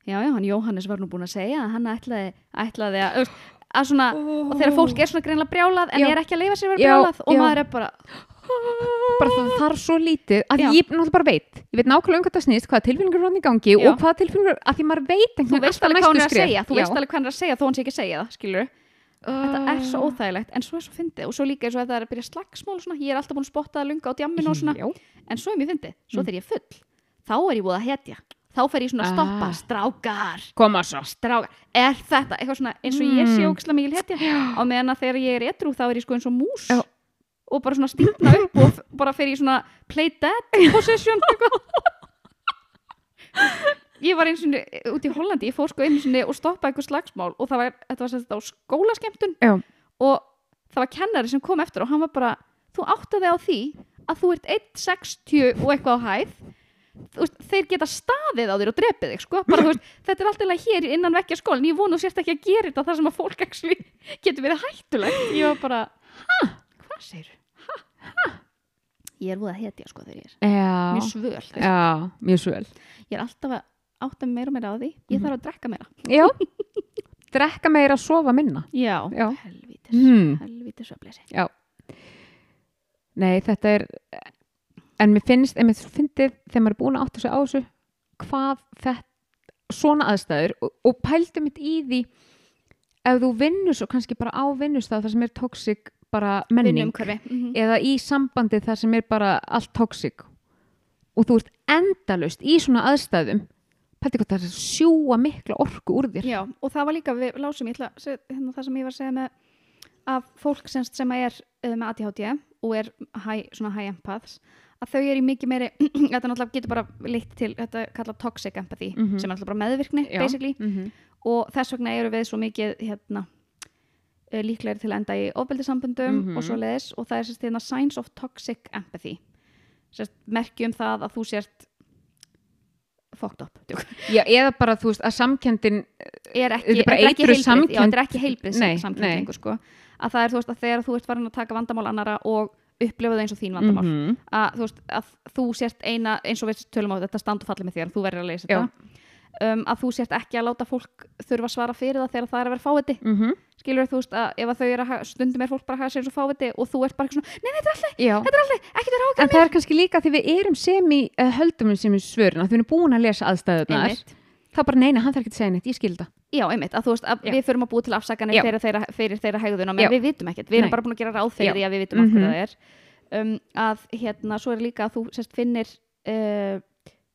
A: já já, hann Jóhannes var nú búin að segja að hann ætlaði, ætlaði að, þú veist, að svona, og þegar fólk er svona greinlega brjálað en
B: Já.
A: er ekki að leifa sér að vera
B: Já,
A: brjálað og
B: já.
A: maður er bara,
B: bara það þarf svo lítið að
A: Já.
B: ég náttúrulega bara veit, ég veit nákvæmlega um hvað það snýst hvaða tilfinningur er hann í gangi
A: Já.
B: og hvaða tilfinningur að því maður veit
A: þú
B: einhvern
A: veist
B: alltaf
A: alveg hvað hann er
B: næstu
A: að
B: skref
A: segja þú
B: Já. Uh,
A: veist alveg hvað hann er að segja þó hann sé ekki að segja það, skilur þetta er
B: Ah.
A: svo óþægilegt, en svo er svo fyndið og svo líka eins og ef það er að byrja slagsmál og svona, ég er alltaf búin að spotta að lunga á djamminu og svona,
B: Já.
A: en svo er mér fyndið svo
B: Mm.
A: þegar ég er full, þá er ég búið að hetja þá fer ég svona að stoppa,
B: Ah.
A: strákar
B: koma svo
A: strákar, er þetta eitthvað svona eins og ég sé
B: Mm.
A: ógislega mikil hetja á meðan að þegar ég er edru þá er ég sko eins og mús
B: Já.
A: og bara svona stífna upp og f- bara fer ég svona play dead possession eitthvað ég var eins og út í Hollandi, ég fór sko eins og og stoppaði eitthvað slagsmál og það var, þetta var sem þetta á skólaskemtun
B: Já.
A: og það var kennari sem kom eftir og hann var bara, þú áttaði á því að þú ert 1,60 og eitthvað á hæð Þú veist, þeir geta staðið á þér og drepið þig sko. bara, þú veist, þetta er alltaf hér innan vekkja skólan ég vonu sérst ekki að gera þetta þar sem að fólk actually (laughs) getur verið hættulegt ég var bara, hæ, hvað segir ég er voða hetja sko þegar ég er
B: Já.
A: mjög svöl, veist.
B: Já, mjög svo vel
A: ég er alltaf að átta mig meira og meira á því ég
B: Mhm.
A: þarf að drekka meira
B: Já. (laughs) drekka meira, sofa minna
A: já,
B: Já.
A: helvítis
B: Hmm.
A: helvítis öfleysi
B: Nei, þetta er en mér finnst, en mér finnst þegar maður er búin að átta sig á þessu hvað þetta svona aðstæður og, og pældu mitt í því ef þú vinnur svo kannski bara á vinnustaf þar sem er tóksik bara menning
A: vinumhverfi mm
B: eða í sambandi þar sem er bara allt tóksik og þú ert endalust í svona aðstæðum pældu hvað það er að sjúa mikla orku úr þér
A: Já, og það var líka, við lásum, ég ætla að seg- hérna, það sem ég var að segja með að fólk semst sem er eh, með ADHD og er high, svona high empaths að þau eru í mikið meiri, (clears throat) þetta náttúrulega getur bara leitt til, þetta er kallað toxic empathy
B: Mhm.
A: sem er náttúrulega bara meðvirkni,
B: Já.
A: basically
B: mm -hmm.
A: og þess vegna eru við svo mikið hérna, eh, líklegri til að enda í ofbeldisamböndum
B: Mhm.
A: og svo leiðis og það er sérst hérna signs of toxic empathy sérst, merki um það að þú sért fucked up djók.
B: Já, eða bara þú veist að samkendin
A: er ekki,
B: Þetta er
A: þetta
B: bara
A: er ekki
B: eitruð
A: heilbrigð-
B: samkennd-
A: já, þetta er ekki heilbrið
B: Nei,
A: samkendingu sko. að það er þú veist að þegar þú ert farin að taka vandamál annara og upplifa það eins og þín vandamál
B: Mhm.
A: að, þú veist, að þú sért eina eins og við tölum á þetta stand og falli með þér þú verður að leysa
B: Já.
A: þetta um, að þú sért ekki að láta fólk þurfa að svara fyrir það þegar það er að vera fáiði
B: Mhm.
A: skilur þú veist að ef að þau eru að haga- stundum er fólk bara að hafa sér svo fáiði og þú ert bara eitthvað svona, nei, nei, þetta er alltaf,
B: Já.
A: þetta er alltaf ekki þetta er ákveð
B: En það er kannski líka því við erum sem í uh, höldum sem í svörun að við erum búin að lesa aðstæðunar þá bara neina, hann þarf ekki að segja neitt, ég skil það
A: Já, einmitt, að þú veist að
B: Já.
A: við förum að búa til afsakanir
B: Já.
A: fyrir þeirra, fyrir þeirra hegðuna, menn
B: Já.
A: við vitum ekkert, við erum
B: Nei.
A: bara búin að gera ráð fyrir
B: Já.
A: því að við vitum af hverju
B: Mhm.
A: það er um, að hérna, svo er líka að þú sérst finnir uh,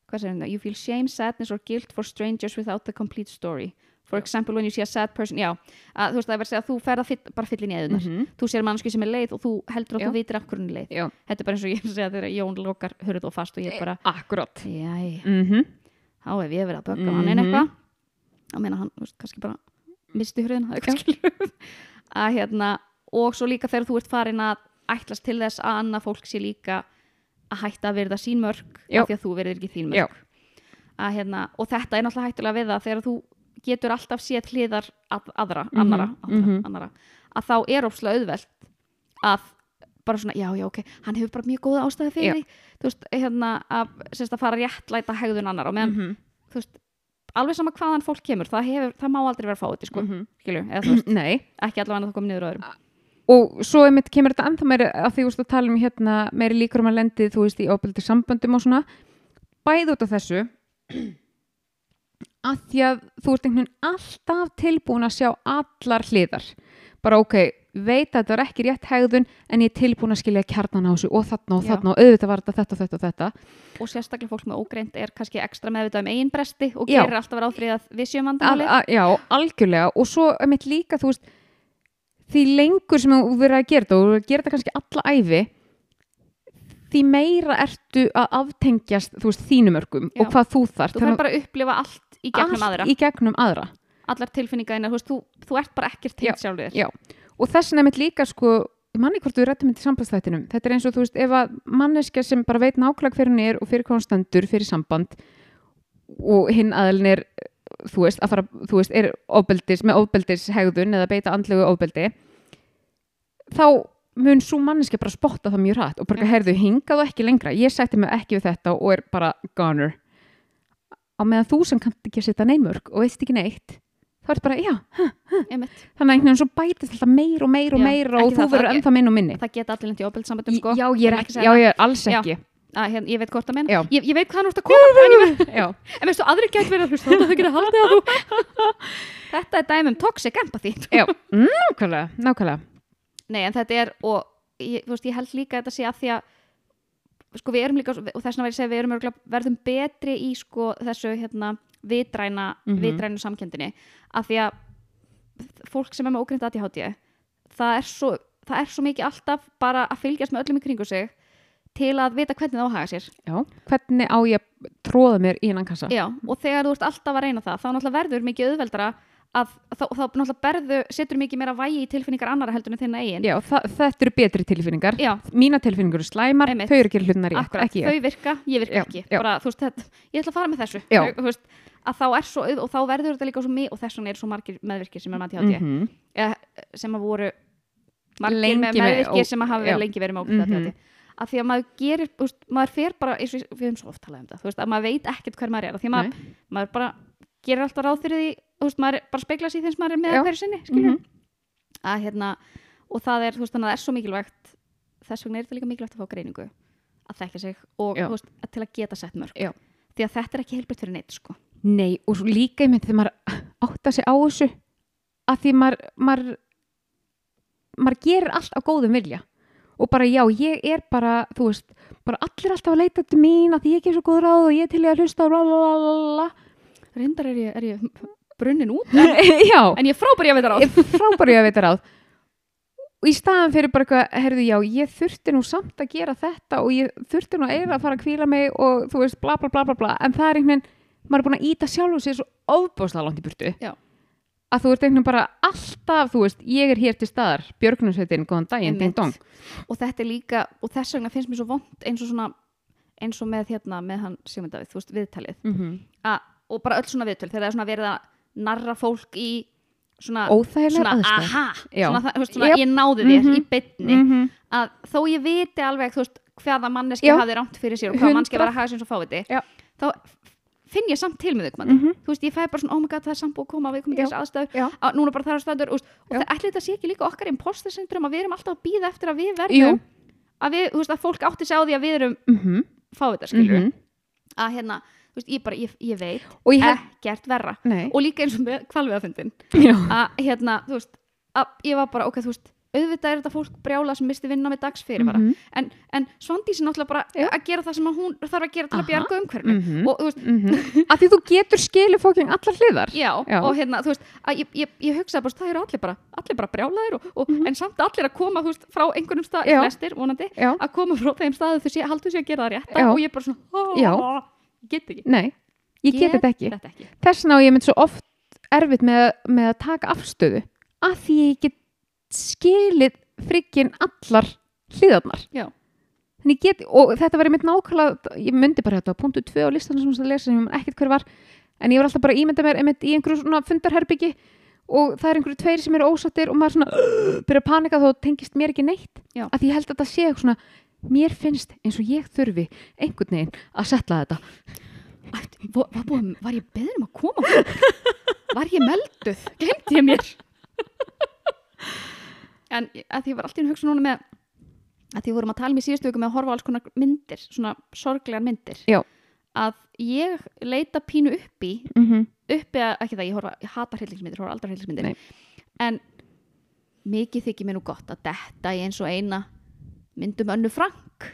A: hvað segir þetta, you feel shame, sadness or guilt for strangers without the complete story for example when you see a sad person, já að þú veist að það er verið að segja að þú ferð að fyll, bara fylla inn í eðunar
B: Mhm.
A: þú sér mannsku sem er leið og þú heldur að
B: Já.
A: þú vitir af hverju hún er leið
B: Já. Eh.
A: þetta er bara eins og ég (laughs) er að segja þegar Jón lokar hurð og fast og ég er bara,
B: Akkurát
A: jæja
B: mm
A: þá hef ég verið að bögga manninn
B: Mhm.
A: eitthvað að meina hann, þú veist, kannski bara misti hröðina, það er kannski lög að hérna, og svo líka þegar þú ert farin að ætlast til þess að annað fólk sé líka að hætta að verða sín mörg
B: Já.
A: af því að þú verður ekki þín
B: Já.
A: mörg að, hérna, og þetta er náttúrulega hættulega við það þegar þú getur alltaf séð hliðar að, aðra,
B: Mhm,
A: annara, aðra,
B: mhm.
A: annara að þá er ópslega auðvelt að bara svona, já, já, ok, hann hefur bara mjög góða ástæði fyrir
B: Já.
A: því, þú veist, hérna að, sérst, að fara að réttlæta hegðun annar og meðan
B: Mhm.
A: þú veist, alveg sama hvaðan fólk kemur það, hefur, það má aldrei vera fáið sko, mm
B: Mhm. Ah.
A: eða þú veist,
B: Nei
A: ekki allavega að það komi niður á öðrum
B: og svo einmitt kemur þetta ennþá meiri að því þú veist að tala um hérna meiri líkur um að lendi þú veist í óbeldi samböndum og svona bæð út af þessu (clears throat) að því að þú ert einhvern veginn alltaf tilbúin að sjá allar hliðar bara ok, veit að þetta var ekki rétt hegðun en ég er tilbúin að skilja kjarnan á þessu og þarna og
A: Já.
B: þarna og auðvitað var þetta þetta og þetta og þetta
A: og sérstaklega fólk með ógreint er kannski ekstra meðvitað um eigin bresti og
B: Já.
A: gerir alltaf ráð fyrir að við séum
B: Al,
A: vandamáli
B: a, já, algjörlega og svo einmitt líka þú veist því lengur sem þú verður að gera þetta og þú verður að gera þetta kannski alla æfi því meira ertu að aftengjast þú veist þínum örgum
A: Já.
B: og hvað þú þarf
A: þú þarf bara að upplifa allt í gegnum aðra
B: í gegnum aðra
A: allar tilfinningaðina, þú veist, þú, þú ert bara ekkert tengt sjálfur þér
B: já. og þessin einmitt líka sko ég manni hvort við rættum þetta í sambandstættinum þetta er eins og þú veist ef að manneskja sem bara veit nákvæmlega hver hún er og fyrir hvað hún stendur fyrir samband og hinn aðalinn er þú veist, að fara, þú veist, er ofbeldis, með ofbeldis hegðun eða beita andlegu ofbeldi þá mun svo manneskja bara spotta það mjög hratt og bara
A: Já.
B: heyrðu hingað og ekki lengra ég sætti mig ekki við þetta og er bara goner á meðan þú sem kannt ekki að setja neinmörk og veist ekki neitt þá er bara, já,
A: einmitt.
B: þannig að einhvern veginn svo bætist alltaf meir og meir og
A: Já,
B: meir og
A: ekki
B: þú
A: það,
B: verður
A: það-
B: ennþá minn og minni
A: það geta allir lendi ábyrð sambandum sko
B: já, ég er
A: Ég vil
B: ekki,
A: segja
B: já,
A: það.
B: ég er alls
A: Já. (laughs)
B: ekki
A: að, hérna, ég veit hvort að
B: Já.
A: menna ég, ég veit hvað hann úrst að koma frá, en, ég veit,
B: já,
A: en veistu, aðri gæt verið að hlusta þótt að þau geta haldið að
B: (laughs)
A: þú (laughs) þetta er dæmum toxic empathy
B: já, nákvæmlega nákvæmlega,
A: Nei, en þetta er og ég, þú veist, ég held líka að þetta sé að því að sko við erum líka og þess vegna verður ég að segja við erum örugglega- verðum betri í sko þessu hérna vitræna,
B: Mhm.
A: vitrænu samkendinni af því að fólk sem er með ógrind ADHD það er svo, það er svo mikið alltaf bara að fylgjast með öllum í kringu sig til að vita hvernig það á að haga sér
B: já hvernig á ég að tróða mér í hennan kassa
A: Já, og þegar þú ert alltaf að reyna það þá náttúrulega verður mikið auðveldara að þá, þá náttúrulega berðu, setur mikið meira vægi í tilfinningar annara heldur en þinna eigin
B: já, þa- þetta eru betri tilfinningar
A: Já,
B: mína tilfinningar eru slæmar,
A: Einmitt.
B: þau eru ekki hlutina rétt,
A: Akkurat,
B: ekki ég
A: þau virka, ég virka
B: Já,
A: ekki
B: já.
A: bara, þú veist, þetta, ég ætla að fara með þessu
B: Já.
A: Þú veist, að þá er svo, auð- og þá verður þetta líka svo mig og þess vegna eru svo margir meðvirkir sem er mati á því
B: Mhm.
A: sem að voru margir
B: Lengi
A: með
B: með-
A: meðvirkir
B: ó-
A: sem að hafa verið
B: já.
A: lengi verið með ógætt mm
B: Mhm.
A: að því að maður gerir, þú veist, maður fer bara eins og við höfum svo oft talað um þetta, þú veist, að maður veit ekkert hver maður er, að því að maður, maður bara gerir alltaf ráð fyrir því, þú veist, maður er- bara spekla sér þeim sem maður er með
B: Já.
A: hverju sinni, skilur
B: Mhm.
A: að hérna, og það er, þú veist, þannig að það er svo mikilvægt þess vegna er þetta líka mikilvægt að fá greiningu að þekka sig og,
B: Já.
A: þú veist, að til að geta sett mörg
B: Já.
A: því að þetta er ekki heilbært fyrir neitt, sko
B: Nei, og svo líka einmitt þegar maður átta sig á þessu að því maður maður, maður gerir allt á góðum vilja og bara já, ég er bara þú veist, bara allir alltaf að leita til mín að því ég gef svo góð ráð og ég er til í að hlusta bla bla bla bla
A: reyndar er ég, er ég brunnin út
B: bla Já,
A: en ég er frábær ég að veita ráð
B: ég er frábæri að veita ráð og í staðan fyrir bara eitthvað, herðu já, ég þurfti nú samt að gera þetta og ég þurfti nú eiginlega að fara að kvíla mig og þú veist, bla bla bla bla bla en það er einhvern veginn, maður er búin að íta sjálfum sér svo ofbáslega langt í burtu
A: Já.
B: að þú ert einhvern veginn bara alltaf þú veist, ég er hér til staðar, Björgnusveitin góðan daginn,
A: Einmitt.
B: ding dong
A: og þetta er líka, og þess vegna finnst mér svo vond eins og svona eins og með hérna með hann Sigmund Davíð, þú veist, viðtalið
B: mm
A: A, og bara öll svona viðtöl, þegar það er svona verið að narra fólk í svona,
B: Óþægilega
A: svona
B: aðstæð
A: aha,
B: Já.
A: svona, það, þú veist, svona
B: Jep.
A: ég náði þér
B: Mhm.
A: í bytni að þó ég viti alveg þú veist, hvaða
B: Já.
A: manneski hafi rámt fyrir sér og hvaða mannski var að hafa sér svo fáviti
B: Já.
A: þá f- finn ég samt til með þau
B: Mhm.
A: þú veist, ég fæ bara svona, oh my god, það er samt búið að koma við komum í
B: Já.
A: þessu aðstæðu,
B: Já.
A: á, núna bara það er aðstæður og, og
B: Já.
A: það ætli þetta sé ekki líka okkar imposter syndrom að við erum alltaf að býða eftir að við
B: Jú.
A: verðum að við, þú veist, að fólk átti sig á því að við erum
B: Mhm,
A: fávitar, skilur
B: mhm.
A: að hérna, þú veist, ég bara, ég, ég veit
B: og ég hef
A: ekkert verra
B: nei,
A: og líka eins og með kvalviðafundin
B: já,
A: að hérna, þú veist, að ég var bara ok, þú veist, auðvitað er þetta fólk brjála sem misti vinna með dagsfyrir bara
B: Mhm.
A: en, en Svandís er náttúrulega bara
B: Já.
A: að gera það sem að hún þarf að gera til
B: Aha.
A: að bjarga umhverfinu
B: Mhm.
A: og þú veist,
B: Mhm. af því þú getur skilið fóking allar hliðar
A: já,
B: Já.
A: og hérna, þú veist að ég, ég, ég hugsaði bara, það eru allir bara allir bara brjálaðir og, og en samt allir að koma þú veist, frá einhvernum stað,
B: Mhm. Já.
A: flestir vonandi
B: já,
A: að koma frá þeim staðu þau sé, haldur sé að gera það rétta
B: Já.
A: og ég bara svona, ó,
B: Já.
A: ég get ekki
B: nei, ég get þetta ekki
A: þetta ekki
B: þess vegna á ég mynd svo oft erfitt með, með að taka afstöðu af því ég get skilið friggin allar hliðarnar
A: Já.
B: Þannig ég get, og þetta var ég mynd nákvæmlega ég myndi bara þetta, var punktu 2 á listanum sem það lesa sem ég mynd ekkert hver var en ég var alltaf bara að ímynda mér einmitt í einhverju svona fundarherbyggi og það er einhverju tveiri sem eru ósattir og maður svona (gasps) uh, byrja að panika þó tengist mér ekki neitt
A: Já.
B: af því ég held að það sé eitthvað svona mér finnst eins og ég þurfi einhvern veginn að setla þetta
A: Ætt, vo- var, búið, var ég beðin um að koma var ég melduð glemdi ég mér en að því ég var alltaf hugsa núna með að því við vorum að tala um í síðustu viku með að horfa á alls konar myndir svona sorglegar myndir
B: Já.
A: að ég leita pínu uppi
B: mm -hmm.
A: uppi að, ekki það, ég, horfa, ég hata hryllingsmyndir horfa aldrei á
B: Nei.
A: hryllingsmyndir en mikið þykir mér nú gott að detta í eins og eina myndum önnu Frank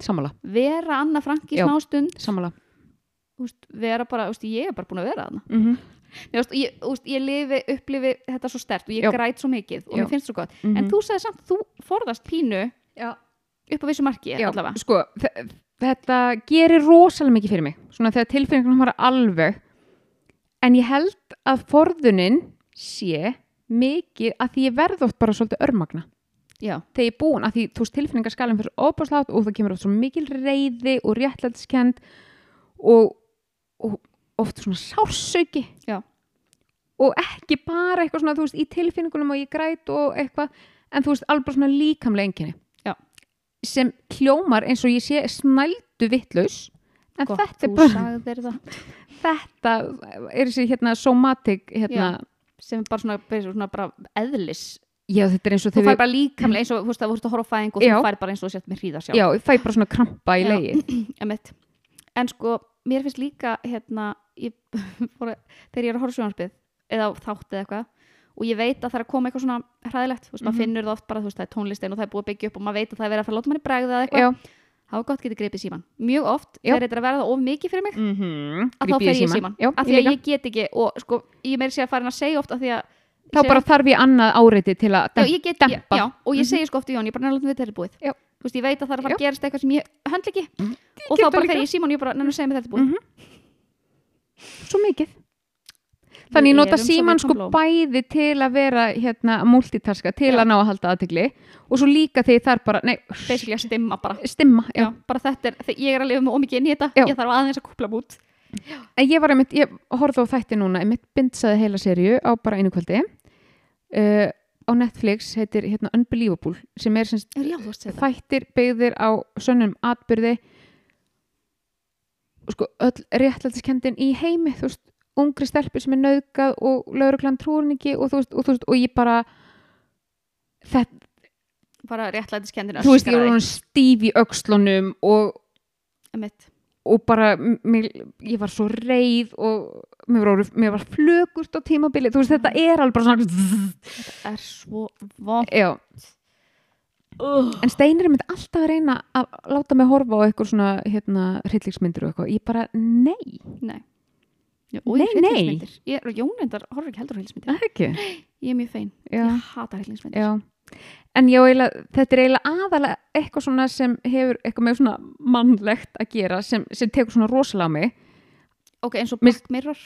B: sammála,
A: vera Anna Frank í
B: Já.
A: smástund
B: sammála
A: þú veist, vera bara, þú veist, ég er bara búin að vera þarna
B: mm -hmm.
A: Mér varst, ég, úst, ég lifi, upplifi þetta svo stert og ég
B: Já.
A: græt svo mikið og
B: Já. Mhm.
A: mér finnst svo gott en þú sagði samt, þú forðast pínu
B: Já.
A: upp á vissu marki allavega
B: sko, þe- þetta gerir rosalega mikið fyrir mig svona þegar tilfinningunum var alveg en ég held að forðunin sé mikið að því ég verð oft bara svolítið örmagna
A: já,
B: þegar ég er búin að því þú veist tilfinningaskalinn fyrir óbáslátt og það kemur oft svo mikil reyði og réttlætiskend og, og oft svona sársauki
A: Já.
B: og ekki bara eitthvað svona þú veist í tilfinningunum og ég græt og eitthvað en þú veist alveg bara svona líkamlega enginni
A: Já.
B: sem hljómar eins og ég sé snældu vittlaus en
A: gott,
B: þetta er
A: þú
B: bara
A: sagðir það
B: þetta er þessi hérna somatic hérna,
A: sem er bara svona, bara svona bara eðlis
B: já. þetta er eins og
A: þú
B: þegar
A: fær bara líkamlega eins og þú veist, það voru að horfa á fæðing og
B: Já.
A: þú fær bara eins og þú sért með hríða sjálf
B: já, ég fæ bara svona krampa í
A: Já.
B: leiði
A: Einmitt. en sko, mér finnst líka hérna, ég, (laughs) fór að, þegar ég er að horfa sjónarspið eða á þátt eða eitthvað og ég veit að það er að koma eitthvað svona hræðilegt, þú veist, maður
B: Mhm.
A: finnur það oft bara, þú veist, það er tónlistin og það er búið að byggja upp og maður veit að það er verið að fara að láta manni bregða eða eitthvað
B: já,
A: þá er gott getið greipið síman mjög oft
B: Já.
A: þegar þetta er að verða of mikið fyrir mig
B: mm -hmm.
A: Mhm. að þá fer ég í síman
B: Já,
A: af
B: ég
A: því að
B: líka.
A: ég get ekki og sko ég meir sé að farin að segja oft af því að
B: þá
A: sé-
B: bara þarf ég annað áreiti til að
A: já, ég get, ég,
B: dempa.
A: já, og ég
B: Mhm.
A: segi sko oft í Jón ég bara nefnilega við þetta er búið
B: Já.
A: þú veist ég veit að það er að fara
B: Já.
A: að gerast eitthvað sem ég höndla ekki og þá
B: get það
A: bara
B: líka.
A: þegar ég í síman ég bara nefnilega segja mig þetta er búið
B: Mhm. svo mikið þannig ég
A: Við
B: nota
A: erum svo
B: síman
A: viðkvæm
B: sko
A: blóm.
B: bæði til að vera hérna að multitaska til
A: Já.
B: að ná að halda aðtegli og svo líka þegar það er bara nei,
A: basically að stimma bara
B: stimma já.
A: já, bara þetta er, þegar ég er að lifa með ómikið inn í þetta
B: Já.
A: ég þarf aðeins að kúpla mút
B: En ég var einmitt, ég horfði á þætti núna einmitt bindsaði heila serju á bara einu kvöldi uh, á Netflix heitir hérna Unbelievable sem er sem sagt
A: já, þú veist þetta
B: þættir byggðir á sönnum atbyrði og sko öll réttlætiskendin í heimi þú veist, ungri stelpur sem er nöðgað og lauruglan trúningi og þú veist, og þú veist, og ég bara þetta,
A: bara réttlætiskendin
B: þú veist, ég var hún stíf í öxlunum og, og bara mér, ég var svo reið og mér var, orðið- mér var flögurt á tímabili, þú veist, þetta er alveg bara svona
A: er svo vond
B: já,
A: uh.
B: En Steinir er mynd alltaf að reyna að láta mig horfa á eitthvað svona hérna hryllingsmyndir og eitthvað. Ég bara, nei.
A: Nei
B: Nei, nei.
A: Ég, Jónendar horfir ekki heldur á hilsmyndir
B: Það er ekki.
A: Ég er mjög fein,
B: Já,
A: ég hata hilsmyndir
B: já. En já, eiginlega, þetta er eiginlega aðalega eitthvað svona sem hefur eitthvað með svona mannlegt að gera sem, sem tekur svona rosalega á mig.
A: Ok, eins og
B: Mér-
A: Black Mirror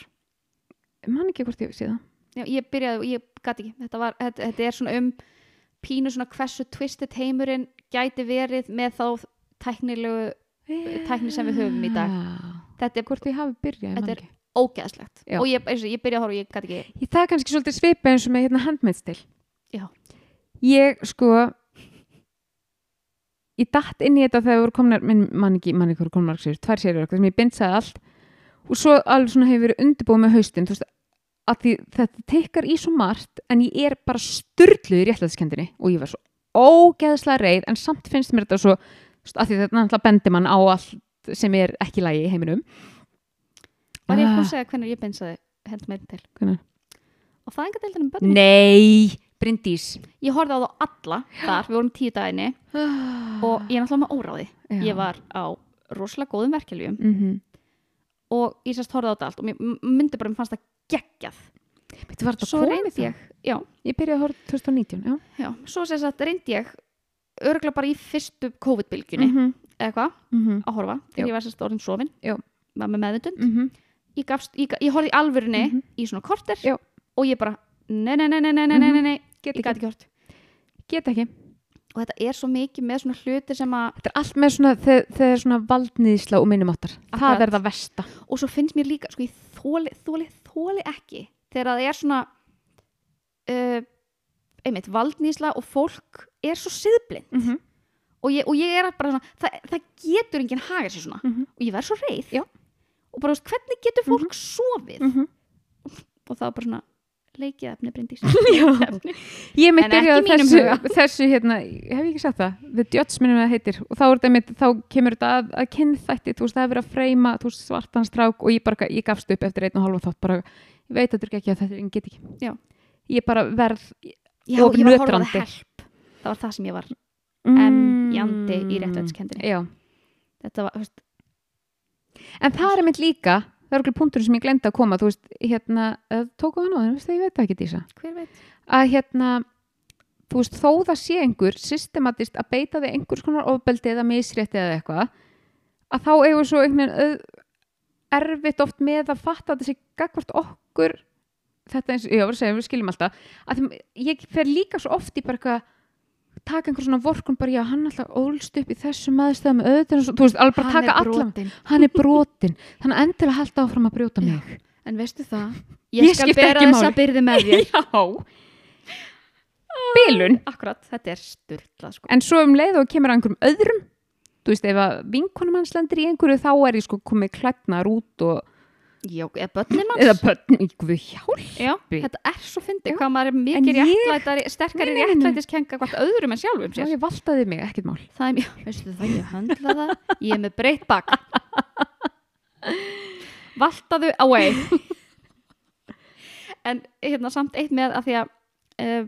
B: Man ekki hvort ég sé það.
A: já, Ég byrjaði, ég gat ekki þetta, var, þetta, þetta er svona um pínu svona hversu twisted heimurinn gæti verið með þá tæknilegu tækni sem við höfum í dag þetta er
B: Hvort ég hafi byrjað, ég
A: Þetta
B: man
A: er-
B: ekki.
A: ógeðslegt
B: Já.
A: og ég, eins og ég byrja að horfa og ég gæti ekki
B: Ég- Það er kannski svolítið svipa eins og með hérna handmeitt stil.
A: Já.
B: Ég, sko, ég datt inn í þetta þegar voru komnar, minn mann ekki, mann ekki voru komnar sér, tvær sérur eitthvað sem ég bindsaði allt og svo alveg svona hefur verið undirbúið með haustin, þú veist, að því þetta tekkar í svo margt en ég er bara styrluð í réttlæðiskendinni og ég var svo ógeðslega reið en samt finnst mér þetta svo, þú veist, að því þetta náttúrulega bendir mann á allt sem er ekki lægi í heiminum.
A: var ég ekki að
B: Ah,
A: segja hvernig ég bensaði hend meirinn til
B: Hvenær?
A: og það enga deildin um börnum
B: Nei, Bryndís.
A: ég horfði á þá alla þar, við vorum tíu daginni og ég er náttúrulega með óráði
B: Ah. Já.
A: ég var á rosalega góðum verkefliðum
B: mm
A: og ég sérst horfði á þetta allt og mér m- myndi bara, mér fannst það geggjað
B: Þetta var þetta
A: svo
B: komið
A: reyndi ég, já,
B: Ég byrjaði að horfa 2019, já.
A: já svo sérst að reyndi ég örgulega bara í fyrstu COVID-bylgjunni
B: -hmm.
A: eða hvað,
B: Mm -hmm.
A: að horfa
B: Já.
A: þegar ég var sérst orðin sofin,
B: Já.
A: var með meðutund
B: Mm -hmm.
A: ég, gafst, ég, ga- ég horfði í alvörunni
B: Mhm.
A: í svona korter
B: Já. Mhm.
A: og ég bara, nei, nei, nei, nei, nei, nei, nei, nei, nei.
B: Get
A: ég gæti ekki hort
B: Get ekki.
A: og þetta er svo mikið með svona hluti sem að
B: Þetta er allt með svona, þegar það er svona valdniðisla og minnumáttar. Það
A: Akkurat.
B: er það versta.
A: og svo finnst mér líka, sko ég þóli, þóli, þóli ekki þegar það er svona uh, einmitt valdnýsla og fólk er svo siðblind
B: Mm -hmm.
A: og ég, og ég er bara svona, það, það getur enginn haga sér svona
B: Mhm.
A: og ég verð svo reið
B: Já. Mhm.
A: og bara, þú veist, hvernig getur fólk sofið
B: Mm -hmm.
A: og það er bara svona leikið efni
B: (laughs)
A: brindís Efni.
B: Ég mitt
A: En ekki
B: byrjaði
A: í
B: á
A: mínum
B: þessu,
A: huga.
B: (laughs) þessu hérna, hef ég ekki sagt það? The Judge minnum það heitir. Og þá, er þetta mitt, þá kemur þetta að, að kynþætti, þú veist, það er verið að freyma, þú veist, svartan strák og ég bara, ég gafst upp eftir einn og halva þátt bara, ég veit að þetta er ekki að þetta, ég get ekki.
A: Já.
B: Ég bara verð,
A: já,
B: Og
A: ég var að horfa á
B: nötrandi.
A: það help það var það sem ég var
B: mm,
A: emjandi í réttlætskendinni
B: Já.
A: þetta var, þú veist,
B: En það er mitt líka, það er okkur punkturinn sem ég glemdi að koma, þú veist, hérna, eh, tókum við náðum, veist það, ég veit það ekki Dísa,
A: hver veit
B: að hérna, þú veist, þó það sé einhver systematist að beita þig einhvers konar ofbeldi eða misrétti eða eitthvað, að þá eigum svo einhvern veginn auð- erfitt oft með að fatta að þessi gagvart okkur, þetta eins, já, við segjum, við skiljum alltaf, að þeim, ég fer líka svo oft í bara eitthvað, taka einhver svona vorkun bara, já, hann alltaf ólst upp í þessum aðstæðum auðvitað, og svo- þú veist, alveg bara taka allan
A: brotinn.
B: hann er brotin þannig endur að halda áfram að brjóta mig
A: en veistu það, (laughs)
B: Ég
A: ég skal
B: skipti
A: bera
B: ekki
A: þessa
B: máli.
A: byrði með (laughs) þér
B: já bílun
A: Akkurat, þetta er styrla sko.
B: en svo um leið og kemur að einhverjum öðrum þú veist ef að vinkonum hans lendir í einhverju þá er ég sko komið klætnar út og,
A: Já, eða börnin manns
B: eða börn ykkur hjálp
A: Já, þetta er svo fyndið
B: Já.
A: hvað maður er
B: En
A: mikið
B: ég-
A: réttlætari sterkari
B: Nei, nei, nei, nei.
A: réttlætiskenga hvort öðrum en sjálfum
B: já
A: sér
B: ég valdaði mig ekkert mál
A: Það er mjög, veistu það, ég höndla það ég er með breytt (laughs) bak Valtaðu (laughs) away En hérna samt eitt með að því að uh,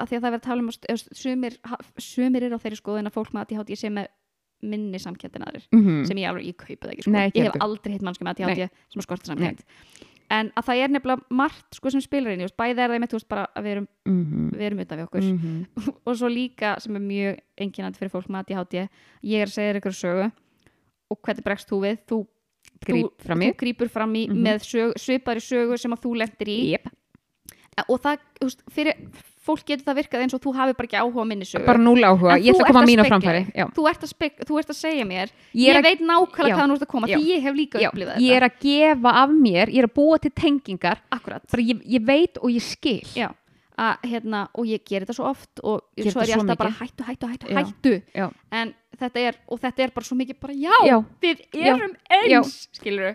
A: að því að það verður að tala um að st- sumir, ha- sumir eru á þeirri skoðin að fólk með ADHD sé með minni samkjöndin aðrir
B: mm
A: sem ég alveg, ég kaupi það ekki sko.
B: Nei, ekki
A: ég hef
B: heldur.
A: aldrei hitt mannskja með ADHD sem að skorta samkjönd en að það er nefnilega margt sko, sem spilar inn í, þú veist, bæði er það með þú veist bara að við erum,
B: -hmm.
A: við erum utan við okkur og svo líka sem er mjög enginandi fyrir fólk með ADHD ég er að segja þér ykkur sögu og hvernig bregst þú við þú,
B: grýp fram
A: þú
B: mig
A: grýpur fram í
B: Mhm.
A: með sög, svipari sögu sem að þú lendir í E,
B: yep.
A: og það, þú veist, fyrir fólk getur það virkað eins og þú hafi bara ekki áhuga á minni sögu
B: bara núl áhuga,
A: En
B: ég
A: þú
B: ætla að koma
A: ert
B: að mínu
A: spegla
B: framfæri
A: þig.
B: já.
A: þú, ert að speg, þú ert að segja mér
B: ég
A: ég,
B: er að
A: veit nákvæmlega
B: Já.
A: hvaðan þú ert að koma
B: Já.
A: því ég hef líka
B: Já,
A: upplifað
B: ég
A: þetta
B: er að gefa af mér, ég er að búa til tengingar
A: akkurat
B: bara ég, ég veit og ég skil
A: Já. að, hérna, og ég ger þetta svo oft og
B: Gerir
A: svo er ég
B: þetta svo
A: alltaf bara
B: mikið.
A: hættu, hættu, hættu,
B: Já.
A: hættu
B: Já.
A: en þetta er, og þetta er bara svo mikið bara já,
B: Já.
A: við
B: Já.
A: erum eins skilur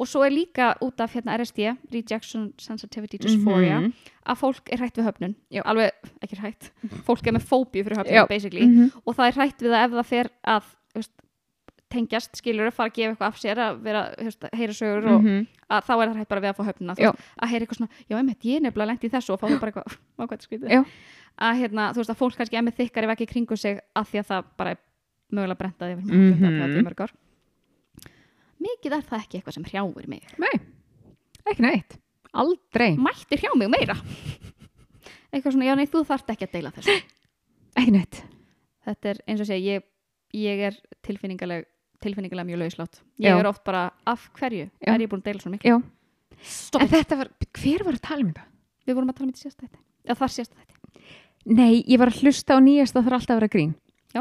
A: og svo er líka út af hérna RSD Rejection Sensitivity Dysphoria
B: Mhm.
A: að fólk er hrætt við höfnun
B: Já.
A: alveg, ekki hrætt, (laughs) fólk er með fóbíu fyrir höfnun
B: Já.
A: basically,
B: Mhm.
A: og það er hrætt við það ef það fer að þú veist, tengjast skilur, fara að gefa eitthvað af sér að vera, þú veist, heyra sögur og
B: Mhm.
A: að þá er það hrætt bara við að fá höfnuna þú
B: Já.
A: veist, að heyra eitthvað svona, já einmitt, ég er nefnilega lengt í þessu og fá þau bara eitthvað, (laughs) má hvað þetta skrítið
B: Já.
A: að hérna, þú veist að fólk kannski emið þykkari vekki kringu sig að því að það bara er mögulega brentaði yfir
B: Mhm.
A: mm -hmm. mikið er það ekki eitthvað sem hrjáir mig
B: Nei, ekki neitt. Aldrei.
A: mættir hrjá mig meira (laughs) eitthvað svona, já nei, þú þarft ekki að deila þessu
B: Ekki neitt.
A: þetta er eins og segja, ég, ég er tilfinningaleg tilfinningalega mjög lauslátt ég
B: Já.
A: er oft bara, af hverju
B: Já.
A: er ég búin að deila svona miklu
B: Já.
A: Stopp.
B: En þetta var, hver var að tala um þetta?
A: við vorum að tala um þetta sérstætti já, þar sérstætti
B: Nei, ég var að hlusta á nýjasta það er alltaf að vera grín.
A: Já.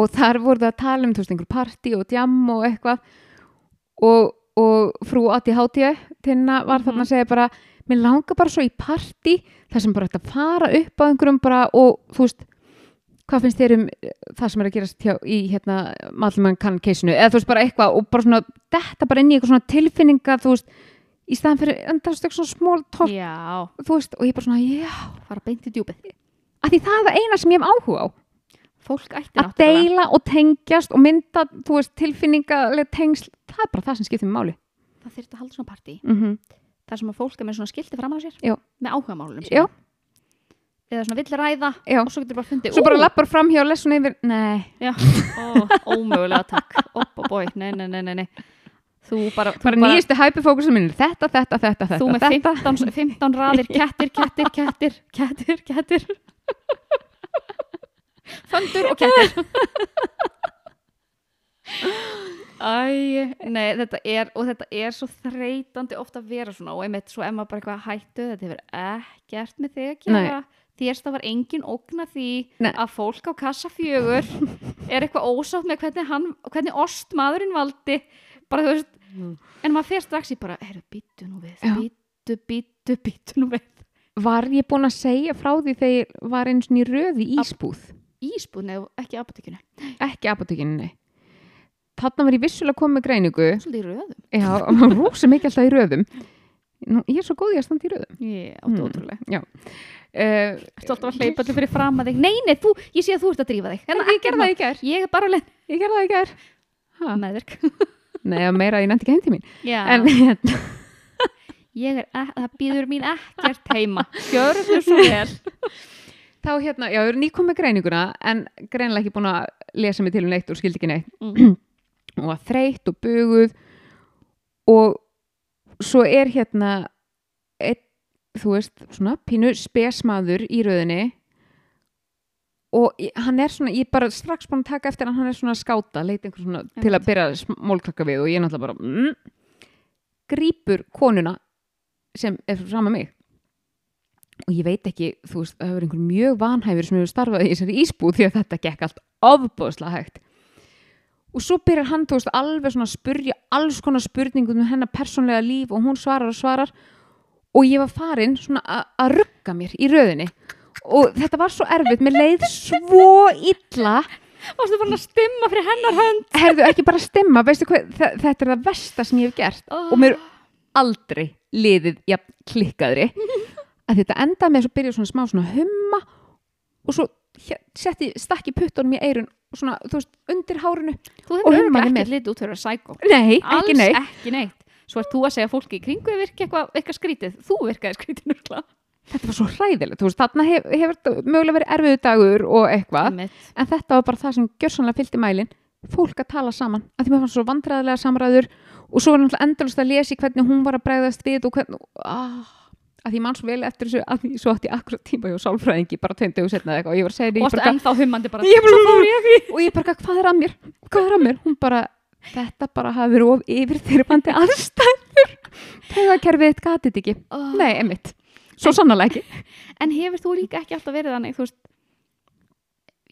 B: og þar voru það að tala um þú veist, einhver partí og djam og eitthvað og, og frú Ati Hátíð tinna var þarna að segja bara mér langar bara svo í partí þar sem bara þetta fara upp á einhverjum bara og þú veist hvað finnst þér um eh, það sem er að gerast hjá, í hérna Mallmann kann keisinu eða þú veist bara eitthvað og bara svona detta bara inn í eitthvað svona tilfinninga þú veist í staðan fyrir endast eitthvað svona smól tók
A: Já,
B: þú veist og ég bara svona já
A: fara beint í djúpið.
B: að því það er það eina sem ég hef áhuga á
A: Fólk ætti
B: að deila og tengjast og mynda þú veist, tilfinningaleg tengsl það er bara það sem skiptir með máli
A: Það þyrfti að halda svona partí.
B: mm -hmm.
A: Þar sem að fólk er með svona skilti fram á sér.
B: Já.
A: Með áhugamálunum.
B: Já.
A: Eða svona vill ræða
B: Já.
A: og svo getur bara fundið.
B: svo bara
A: "Ú,
B: lappar fram hjá lesun yfir nei,
A: Já, ó, ómögulega takk Oppa bói, nei, nei, nei, nei, nei Þú bara, þú
B: bara nýjastu hæpifókusum minn er þetta, þetta, þetta, þetta,
A: Þú með
B: þetta.
A: 15, 15 raðir kettir, kettir, kettir, kettir, kettir
B: (laughs)
A: Föndur og kettir Æ, nei, þetta er og þetta er svo þreytandi ofta að vera svona og einmitt svo emma bara eitthvað hættu þetta hefur ekkert með þig að gera þér stafar engin ógna því
B: Nei.
A: að fólk á kassa fjögur er eitthvað ósátt með hvernig, hann, hvernig ost maðurinn valdi bara þú veist
B: Mm.
A: en maður fer strax í bara, heyrðu, býttu nú við
B: Já.
A: býttu, býttu, býttu nú við
B: var ég búin að segja frá því þegar ég var einu svona í röði ísbúð
A: ísbúðni og ekki apotekinu
B: ekki apotekinni þarna var ég vissulega komið með greiningu
A: svolítið í röðum
B: já, rosa mikið alltaf í röðum Nú, ég er svo góð í að standa í röðum
A: yeah, mm.
B: Mm.
A: ótrúlega
B: uh,
A: Þú ert alltaf að hleypa allir fyrir fram að þig Nei, nei, þú, ég sé að þú ert að drífa þig En
B: ég gerði það í gær
A: Ég er bara alveg
B: ég gerði það í gær Ha?
A: meðvirk
B: Nei, að meira að ég nefndi ekki heim til mín en,
A: En ég er, e- það býður mín ekkert heima Gjörðu þú svo vel
B: þá hérna, já, ég er nýkom með greininguna en greinlega ekki búin að lesa mig til um neitt og skildi ekki neitt
A: Mm.
B: og var þreytt og buguð og svo er hérna eitt, þú veist, svona pínu spesmaður í röðinni og ég- hann er svona, ég er bara strax búin að taka eftir hann, hann er svona að skáta, leita einhver svona til að byrja smólkrakka við og ég er náttúrulega bara mm, grípur konuna sem er fram að mig og ég veit ekki, þú veist, það hefur einhver mjög vanhæfur sem hefur starfað í þessari ísbúð því að þetta gekk allt ofbóðslega hægt og svo byrjar hann, þú veist, alveg svona að spurja alls konar spurningum um hennar persónlega líf og hún svarar og svarar og ég var farin svona a- að rugga mér í röðinni og þetta var svo erfitt, mér leið svo illa
A: (laughs) Varstu bara að stimma fyrir hennar hönd
B: herðu ekki bara stemma, veistu hvað þe- þetta er það versta sem ég hef gert og mér hefur aldrei liðið jafn klikkaðri að þetta endaði með svo byrja svona smá svona humma og svo hér- setti, stakki puttunum í eirun og svona, þú veist, undir hárinu
A: Þú
B: Og
A: hefur
B: hummaði
A: örugglega
B: mér.
A: ekkert litið út fyrir að sækó
B: nei,
A: Alls
B: ekki neitt
A: ekki neitt Svo ert þú að segja fólki í kringu þig virki eitthvað eitthvað skrítið Þú virkaði skrítið nörgla
B: þetta var svo hræðilegt, þú veist, þarna hef, hefur þetta mögulega verið erfiðu dagur og
A: Mm.
B: eitthvað en þetta var bara það sem gjörsanlega fylgdi mælin fólk að tala saman, að því mér fannst svo vandræðilega samræður og svo var náttúrulega endalust að lesa í hvernig hún var að bregðast við og hvernig ah, að því mann svo vel eftir þessu að því svo átti ég akkurat tíma hjá sálfræðingi bara tveimdegu setna eitthvað og ég var að segja
A: Og varstu
B: henni,
A: ennþá hummandi bara
B: ég bara, ég bara, og ég bara hvað er að mér, hvað er að mér hún bara, þetta bara hafi verið of yfir þyrfandi aðstæður þegar kerfið þitt gatið ekki
A: oh.
B: nei, emitt, svo sannarlega ekki
A: En hefur þú líka ekki alltaf verið þannig, þú veist,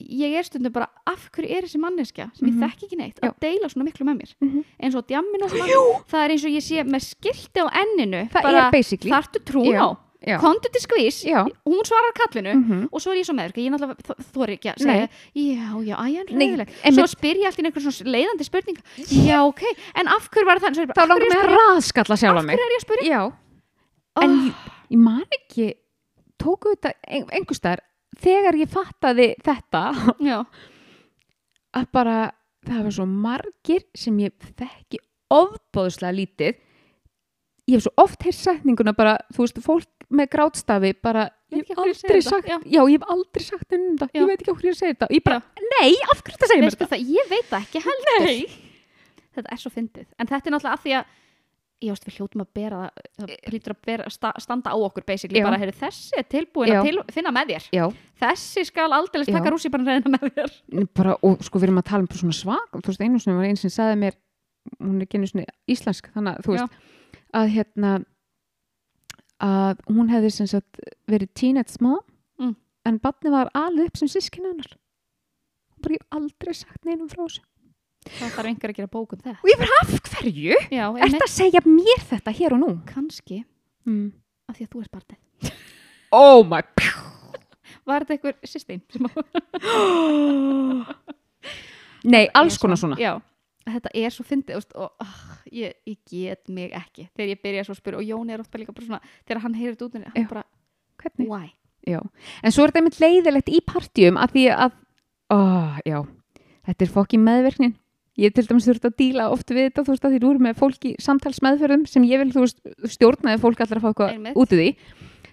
A: ég er stundum bara, af hverju er þessi manneskja sem
B: Mhm.
A: ég þekki ekki neitt að deila svona miklu með mér?
B: Mhm.
A: Eins og djammin og svona, það er eins og ég sé með skilti á enninu,
B: það
A: bara
B: er basically
A: þartu trún
B: Já,
A: á,
B: já.
A: kontu til skvís,
B: Já.
A: hún svarar kallinu
B: Mm -hmm.
A: og svo er ég svo meður, ég náttúrulega þ- þori ekki að segja, já, já, æ, en
B: Nei,
A: reyðileg. Svo
B: einmitt.
A: spyr ég alltaf einhver svona leiðandi spurning, já, ok, en af hverju var það, svo er ég
B: Þá
A: bara, af
B: langar
A: hverju er
B: mig
A: ég að
B: að
A: spyrja?
B: raðskalla sjálfa
A: Af
B: mig Ah,
A: hverju er ég að spyrja?
B: Já,
A: Oh,
B: en ég, ég man ekki tóku þetta ein, einhverstaðar þegar ég fattaði þetta (laughs)
A: já,
B: að bara það var svo margir sem ég þekki ofbóðslega lítið ég hef svo oft heyrt setninguna bara, þú veist, fólk með grátstafi bara,
A: Ég veit ekki
B: ég hef
A: af hverju ég segi
B: aldrei
A: þetta,
B: sagt
A: já.
B: já. ég hef aldrei sagt um þetta,
A: Já.
B: ég veit ekki okkur ég segi þetta ég bara, nei, af hverju þetta segir mér
A: veistu
B: þetta
A: það, ég veit það ekki heldur. Nei. þetta er svo fyndið en þetta er náttúrulega að því að ég veist við hljótum að bera það- það hlýtur að bera, sta, standa á okkur basically
B: Eh. Já.
A: bara heyrðu þessi er tilbúin
B: Já.
A: að til, finna með þér
B: Já,
A: þessi skal aldrei
B: Já.
A: taka rúsi bara reyna með þér
B: bara, og sko við erum að tala um bara svona svak þú veist, einu sinni var einu sinni sagði mér hún er ekki einu sinni íslensk þannig að þú
A: Já.
B: veist að hérna að hún hefði sem sagt verið teenage mom
A: Mm.
B: en barni var alveg upp sem sískinni hennar hún bara ég hef aldrei sagt neinum frá þessu
A: þá þarf einhver að gera bók um það
B: og ég bara af hverju?
A: já,
B: Ertu
A: einmitt,
B: að segja mér þetta hér og nú?
A: kannski
B: Mm.
A: af því að þú ert barnið
B: Oh my pjú.
A: var þetta einhver sýstein sem að
B: (gasps) Nei, alls konar svona
A: Já, þetta er svo fyndið þú veist, og oh, ég, ég get mig ekki þegar ég byrja svo að spyrja og Jón er ofta líka bara svona þegar hann heyrði út unni, hann
B: Já.
A: bara
B: Hvernig?
A: why?
B: Já, en svo er þetta einmitt leiðilegt í partjum að því að, ó, já, þetta er fokkin meðverknin. Ég til dæmis þurft að díla oft við þetta, þú veist, að því þú eru með fólk í samtalsmeðferðum sem ég vil, þú veist, stjórnaði fólk allar að fá
A: Einmitt.
B: eitthvað út í því.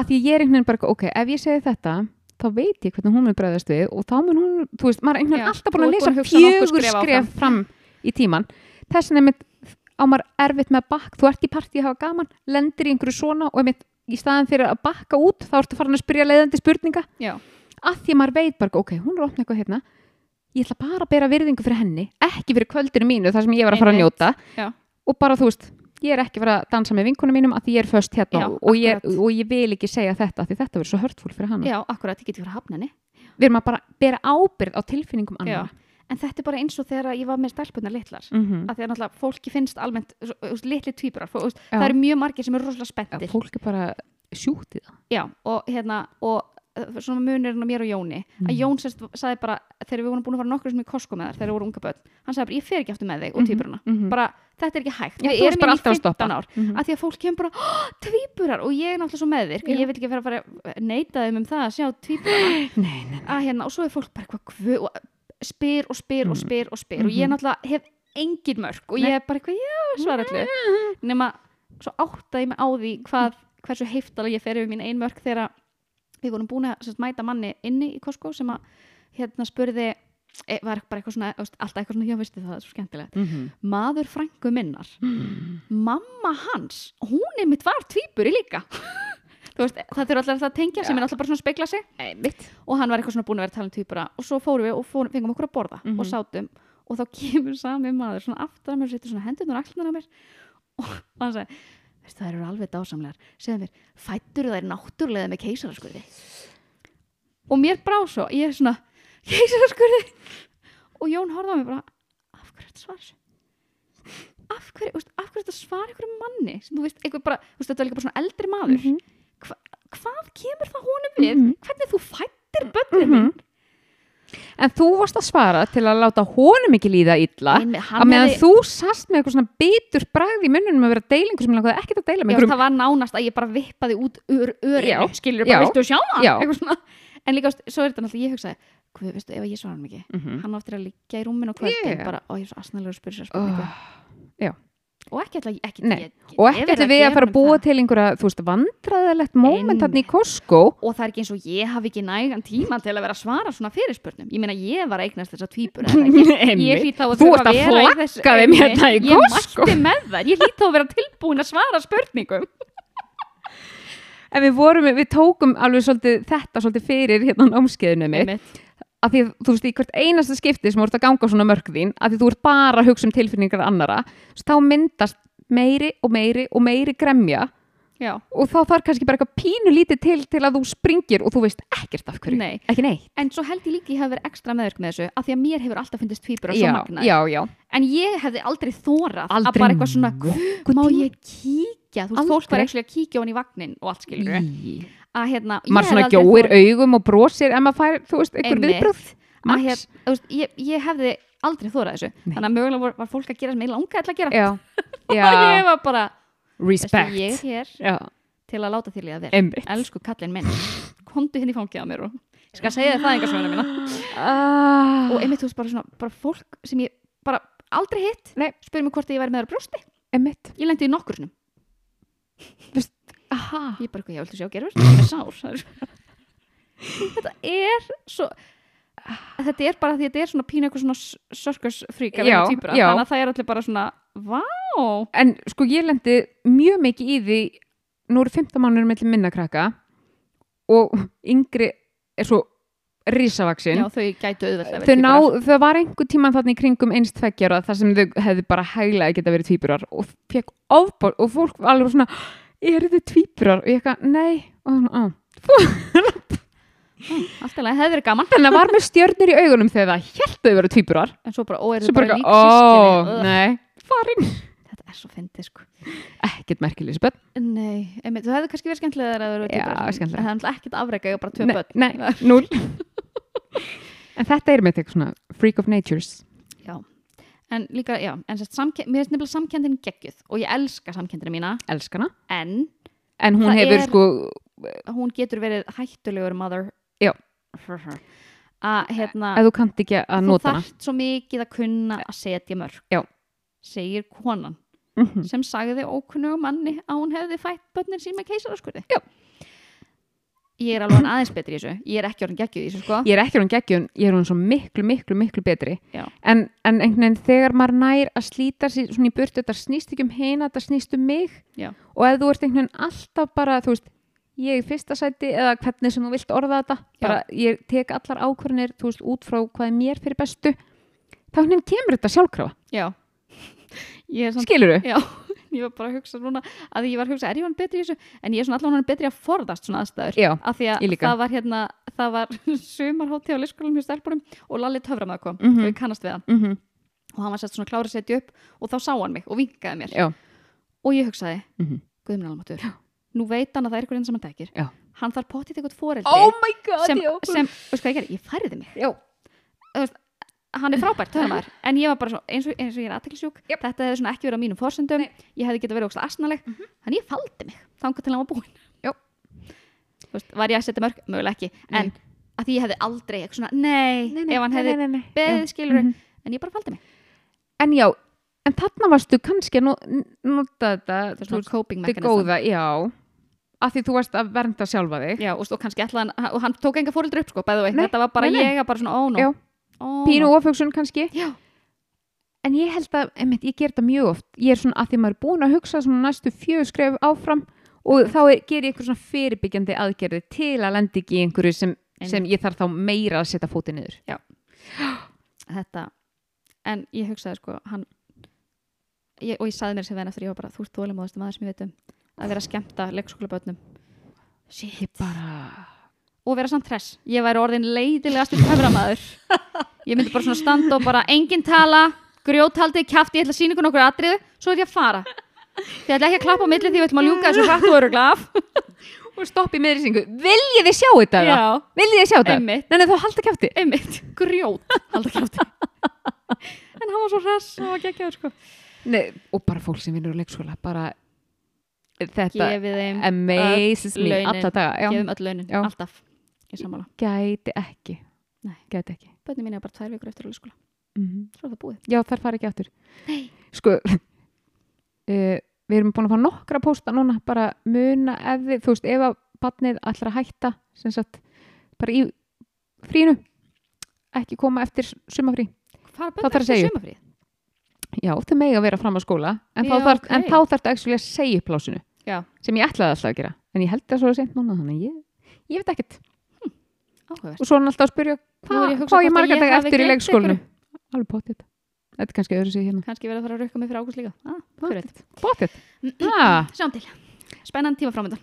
B: Að því ég er einhvern veginn bara, eitthvað, ok, ef ég segi þetta, þá veit ég hvernig hún mun bregðast við og þá mun hún, þú veist, maður er einhvern
A: Já,
B: veginn alltaf búin
A: þú
B: að
A: ert
B: lesa
A: búin að hugsa nokkur
B: fjögur
A: skref
B: skref, fram í tíman. Þess vegna einmitt á maður erfitt með að bakk, þú ert í partí að hafa gaman, lendir í einhverju svona og einmitt í staðan fyrir að bakka út þá ertu farin að spyrja leiðandi spurninga
A: Já.
B: að því að maður veit bara, ok, hún er opnað eitthvað hérna ég ætla bara að bera virðingu fyrir henni ekki fyrir kvöldinu mínu, þar sem ég var að fara að
A: Einmitt.
B: njóta
A: Já.
B: og bara, þú veist, ég er ekki að fara að dansa með vinkunum mínum að því ég er föst hérna
A: Já,
B: og, ég,
A: akkurat.
B: og ég vil ekki segja þetta af því þetta verður svo hörtfúl fyrir hann
A: Já, akkurat, ég get ekki verið að hafna henni
B: við erum að bara bera ábyrð á tilfinningum
A: Já.
B: annar
A: en þetta er bara eins og þegar ég var með stelpunar litlar
B: mm
A: að því að náttúrulega fólki finnst almennt svo- þú veist, litli tvíburar, þú veist,
B: Já.
A: það eru mjög margir sem eru rosalega spenntir
B: fólk er bara sjúkt í það
A: Já, og hérna og uh, svona munirinn á mér og Jóni að
B: Mm.
A: Jón sérst sagði bara, þegar við vorum búin að fara nokkur sem í Costco með þær, þegar við vorum unga börn hann sagði bara, ég fer ekki aftur með þig og týpuruna
B: Mhm.
A: bara, þetta er ekki hægt,
B: Já,
A: við
B: þú varst
A: erum
B: bara
A: inn í
B: alltaf að
A: 15
B: stoppa.
A: ár
B: Mhm.
A: að því að fólk kemur bara, "Hó, tvíburar og ég er náttúrulega svo með þér,
B: Já.
A: ég vil ekki fara að fara að neita þeim um það að sjá tvíburar
B: nei, nei,
A: að hérna, og svo er fólk bara eitthvað guð og spyr og spyr og
B: Mm.
A: spyr og spyr og ég
B: Mhm.
A: náttúrulega hef engin mörk og ég
B: Nei. Mhm.
A: er bara eitthvað, já, svara allu nema svo áttaði ég mig á því hvað, hversu heiftalega ég fer yfir mín ein mörk þegar við vorum búin að sérst, mæta manni inni í Costco sem að hérna spurði e, var bara eitthvað svona, þú veist, alltaf eitthvað svona já veistu það, það er svo skemmtilegt
B: Mhm.
A: maður frængu minnar,
B: Mm.
A: mamma hans hún er mitt var tvíburi líka þú veist, það þurfa alltaf að tengja sem er alltaf bara svona að spegla sig
B: Einmitt.
A: og hann var eitthvað svona búin að vera að tala um tvíbura og svo fórum við og fórum, fengum okkur að borða
B: Mhm.
A: og sátum og þá kemur sami maður svona aftur að mér og setur svona hendunar axlunar á mér og hann sagði "Veistu, þær eru alveg dásamlegar segðu mér, fættur þær náttúrulega með keisaraskurði og mér brá svo ég er svona, keisaraskurði og Jón horfði á mig bara af hverju þetta svara þessu af hverju, þú veist, af hverju þetta svara einhverjum manni sem þú veist, einhver bara, þú veist, þetta var líka bara svona eldri maður
B: Mhm.
A: hvað kemur það honum við
B: Mhm.
A: hvernig þú fættir börnum mín
B: En þú varst að svara til að láta honum ekki líða illa
A: Nei, með-
B: að
A: hann
B: meðan
A: hefði-
B: þú sast með eitthvað svona bitur bragð í munnunum að vera deilingu sem langaði ekkert að deila
A: Já,
B: með einhverjum
A: það var nánast að ég bara vippaði út ur, örinu,
B: Já,
A: skilur bara,
B: já,
A: viltu að sjá það?
B: já.
A: Eitthvað svona. En líka, veist, svo er þetta náttúrulega, ég hugsaði, hvað, veistu, ef ég svara hann ekki,
B: Mhm.
A: hann á eftir að liggja í rúminu og kvöldin,
B: Já.
A: bara, ó, ég er svo asnælega að spyrja sér spurningu.
B: Oh.
A: Og ekki ætla, ekki,
B: Nei,
A: ég, ég,
B: Og ekki ætlum við að fara að búa til einhverja, þú veist, vandræðilegt moment hann í Costco
A: Og það er ekki eins og ég hafi ekki nægan tíma til að vera að svara svona fyrirspurnum. Ég meina, ég var að eignast þessa tvíbura. eða ekki? Ég
B: (laughs) Einmitt.
A: hlýt þá að
B: Þú
A: þurfa
B: ert að
A: vera í þessu-
B: flagga þeim hérna í
A: Einmitt.
B: Costco.
A: Ég mætti með það. Ég hlýt þá að vera tilbúin að svara spurningum.
B: En við vorum, við tókum alveg svolítið þetta svolítið fyrir hérna námskeiðinu mitt
A: Einmitt.
B: að því að, þú veist, í hvert einasta skipti sem þú ert að ganga á svona mörg þín, að því þú ert bara að hugsa um tilfinningar annara, þú veist, þá myndast meiri og meiri og meiri gremja
A: Já.
B: og þá þarf kannski bara eitthvað pínu lítið til til að þú springir og þú veist ekkert af hverju
A: Nei.
B: ekki neitt
A: En svo held ég líka ég hef verið ekstra meðverk með þessu af því að mér hefur alltaf fundist tvíburar svo
B: já,
A: magnaðir.
B: já, já,
A: En ég hefði aldrei þórað að
B: Aldrei
A: bara eitthvað svona
B: nokkuð
A: Má
B: tíma."
A: ég kíkja? Þú veist, fólk var
B: Aldrei.
A: ekki að kíkja á hann í vagnin og allt skilur við
B: Í.
A: að hérna ég
B: maður
A: hefði
B: svona
A: aldrei
B: gjóir
A: þorað-
B: augum og brosir en maður fær, þú veist, einhver
A: Einmitt.
B: viðbröð
A: að
B: Max.
A: hér, þú veist, ég, ég hefði aldrei þórað þessu
B: Nei.
A: þannig að mögulega var, var fólk að gera sem ég langaði til að gera
B: já,
A: (laughs) og ég
B: já,
A: var bara veistu,
B: respect
A: ég er hér
B: já,
A: til að láta þér líða vel
B: einmitt
A: Elsku kallinn minn, komdu henni í fangið á mér og ég skal segja þér það enga söguna mína
B: Ah.
A: og einmitt þú veist bara svona, bara fólk sem ég bara aldrei hitt
B: Nei.
A: spyrir mig hvort ég væri með þér á brjósti
B: einmitt
A: ég lendi í nokkur sinum
B: Aha.
A: ég bara, eitthvað, ég viltu sjá gerfist, ég er sár Það er- þetta er svo þetta er bara því að þetta er svona pínu eitthvað svona sörkursfrík
B: Já, já.
A: þannig að það er allir bara svona vá,
B: en sko ég lendi mjög mikið í því nú eru 15 mánuður mellum minna krakka og yngri er svo risavaksinn
A: já, þau gætu auðvitað
B: þau ná, þau var einhver tíman þannig kringum eins tveggjara þar sem þau hefðu bara hæglega geta verið tvíburar og fekk ofból og fólk var alveg svona eru þau tvíburar og ég eitthvað, nei og þannig, á
A: Allt í lagi, hefði verið gaman.
B: Þannig að var með stjörnir í augunum þegar það held að þau verið tvíburar.
A: En svo bara, ó, er
B: Svo
A: þið bara
B: bara,
A: lík
B: ó,
A: sískinni?
B: nei, farin.
A: Þetta er svo fyndið, sko.
B: Ekkert merkileg spöld.
A: Nei, einmitt, þú hefði kannski verið skemmtilega þegar það eru
B: Já, skemmtilegra.
A: Það er náttúrulega ekkert afrega, ég var bara tvö
B: Nei,
A: börn.
B: nei, núl. en þetta er með eitthvað svona freak of natures.
A: Já, en líka, já, en sérst, samke- mér finnst nefnilega samkendin geggjuð og ég elska samkendina mína,
B: Elskana.
A: en
B: En hún
A: Það
B: hefur
A: er-
B: sko,
A: hún getur verið hættulegur mother.
B: Já.
A: (laughs) Að, hérna,
B: ef þú kannt ekki að
A: þú
B: nota hana.
A: þarft svo mikið að kunna að setja mörg.
B: Já.
A: Segir konan
B: Mhm.
A: sem sagði ókunnugum manni að hún hefði fætt börnin sín með keisaraskurði.
B: Já.
A: Ég er alveg orðin aðeins betri í þessu. Ég er ekki orðin geggjuð í þessu, sko.
B: Ég er ekki hún geggjun, ég er hún svo miklu, miklu, miklu betri.
A: Já.
B: En, en einhvern veginn þegar maður nær að slíta sér svona í burtu, þetta snýst ekki um heina, þetta snýst um mig.
A: Já.
B: Og ef þú ert einhvern veginn alltaf bara, þú veist, ég er í fyrsta sæti eða hvernig sem þú vilt orða þetta,
A: Já.
B: bara ég tek allar ákvörðinir, þú veist, út frá hvað er mér fyrir bestu, þá einhvern veginn kemur þetta sjálfkrafa.
A: Já. Ég er samt
B: Skilur
A: Já, ég var bara að hugsa núna að ég var að hugsa, er ég hann betri í þessu? En ég er svona allan hann betri að forðast svona aðstæður.
B: Já,
A: Af því
B: ég
A: að
B: líka.
A: það var hérna, það var (laughs) sumarhátti á leikskólanum hjá stelpunum og Lalli Töframæður kom
B: Mhm.
A: og ég kannast við hann.
B: Mm -hmm.
A: Og hann var sett svona klára að setja upp og þá sá hann mig og vinkaði mér.
B: Já.
A: Og ég hugsaði, mm
B: Mhm.
A: guðminn almatur, nú veit hann að það er einhverjum sem hann tekir.
B: Já.
A: Hann þarf pottið eitthvað foreldri
B: Oh my god,
A: sem, sem, veistu hvað ég gerði? Ég færði mig.
B: Já.
A: hann er frábært töðumar en ég var bara svo, eins, og, eins og ég er aðteklisjúk
B: Jep.
A: þetta hefði svona ekki verið á mínum forsendum ég hefði getað verið ógst asnaleg
B: Mhm.
A: þannig ég faldi mig þangað til hann var búinn
B: Já.
A: Þú veist, var ég að setja mörg, mögulega ekki en að því ég hefði aldrei eitthvað svona nei, ef hann hefði
B: nei, nei.
A: beðið skilur
B: Mhm.
A: en ég bara faldi mig
B: En já, en þarna varstu kannski að nó- nota þetta,
A: það er svona coping
B: þetta
A: mekanism
B: góða, já, af því þú varst að vernda sjálfa þig.
A: Já, og, og kannski ætlaði hann og hann tók enga fóreldri upp sko bæðu veit
B: Nei,
A: þetta var bara
B: nei, nei.
A: ég að bara svona ó
B: Já.
A: no Ó,
B: Pínu
A: no.
B: ofugsun kannski.
A: Já.
B: En ég held að, einmitt, ég ger þetta mjög oft. Ég er svona að því maður er búin að hugsa svona næstu fjögur skref áfram og þá er, ger ég eitthvað svona fyrirbyggjandi aðgerði til að lendi ekki í einhverju sem, sem ég þarf þá meira að setja fótið niður.
A: þetta en ég hugsaði sko hann, ég, og ég saði mér sem venn eftir ég var bara þú ert þólimóðast maður sem ég veit um að vera að skemmta leikskólabötnum
B: Ég bara...
A: og vera samt hress ég væri orðin leiðilegast um höframaður ég myndi bara svona standa og bara engin tala, grjóthaldið, kjafti ég ætla að sína ykkur nokkur atriðu, svo er ég að fara ég ætla ekki að klappa á milli því ég ætlum að ljúka þessu hratt og örugla af
B: Og stoppi meðri syngu. Viljið þið sjá þetta? eða?
A: Já.
B: Viljið þið sjá þetta?
A: Einmitt.
B: Nei, nei, þá halda kæfti.
A: einmitt, grjót halda kjafti en hann var svo hress og var geggjaður sko
B: Nei, og bara fólk sem vinnur á leikskóla, bara þetta
A: gefið þeim,
B: amazes me
A: launin.
B: alla daga. Já,
A: gefum öll launin,
B: Já.
A: alltaf ég sammála
B: gæti ekki.
A: Nei. Mhm.
B: Gæti ekki.
A: bönni mín er bara tvær vikur eftir alveg skóla svo er það búið
B: Já, þar fara ekki aftur. Nei. Sko, (laughs) uh, við erum búin að fá nokkra pósta núna, bara muna ef þið, þú veist, ef að barnið ætlar að hætta, sem sagt, bara í frínu, ekki koma eftir sumafrí.
A: fara
B: Þá þarf að segja upp.
A: sumafrið
B: Já, þau megi að vera fram á skóla, en þá
A: Já,
B: þarf- en
A: ok.
B: þá þarf þetta ekki að segja upp lásinu.
A: Já.
B: Sem ég ætlaði alltaf að gera, en ég held það svo að segja núna, þannig að ég, ég veit ekkert.
A: áhugavert
B: og svo er hann alltaf að
A: Nú er
B: spyrja
A: ég
B: hvað
A: að hugsa
B: hva
A: hvort
B: ég
A: að
B: marga
A: ég
B: dag
A: hafi
B: eftir í
A: gleymt
B: leikskólinu alveg bóttið þetta er kannski öðru sig hérna
A: kannski verið að fara að rukka mig fyrir águst líka ah, hver veit.
B: bóttið, ah,
A: sjáum til spennan tíma framöndan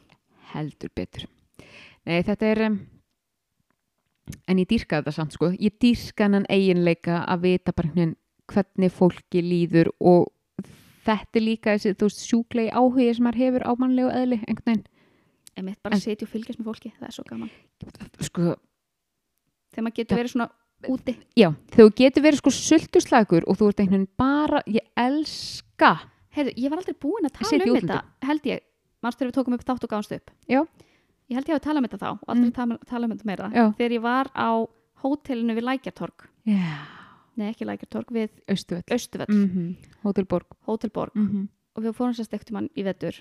B: heldur betur nei þetta er um, en ég dýrka þetta samt sko ég dýrka hann eiginleika að vita bara hvernig, hvernig fólki líður og þetta er líka þessi þú veist sjúklegi áhugi sem maður hefur á mannlegu eðli einhvern
A: einmitt bara en...
B: En-
A: setja og fylgjast með fólki það er svo gaman
B: veginn sko
A: þegar maður getur verið svona úti
B: já, þú getur verið sko sultuslagur og þú ert einhvern veginn bara ég elska
A: Heyrðu, ég var aldrei búin að tala
B: Setja í
A: um
B: útlöndum.
A: þetta held ég mannstu þegar við tókum upp þátt og gáðumst upp
B: Já.
A: ég held ég hafi talað um þetta þá og aldrei mm. talað um þetta meira
B: Já.
A: þegar ég var á hótelinu við Lækjartorg
B: yeah.
A: nei ekki Lækjartorg við
B: austuvel
A: Östuvöll
B: mm Hótelborg
A: hótelborg
B: mm -hmm.
A: og við fórum sérst ekkert um hann í vetur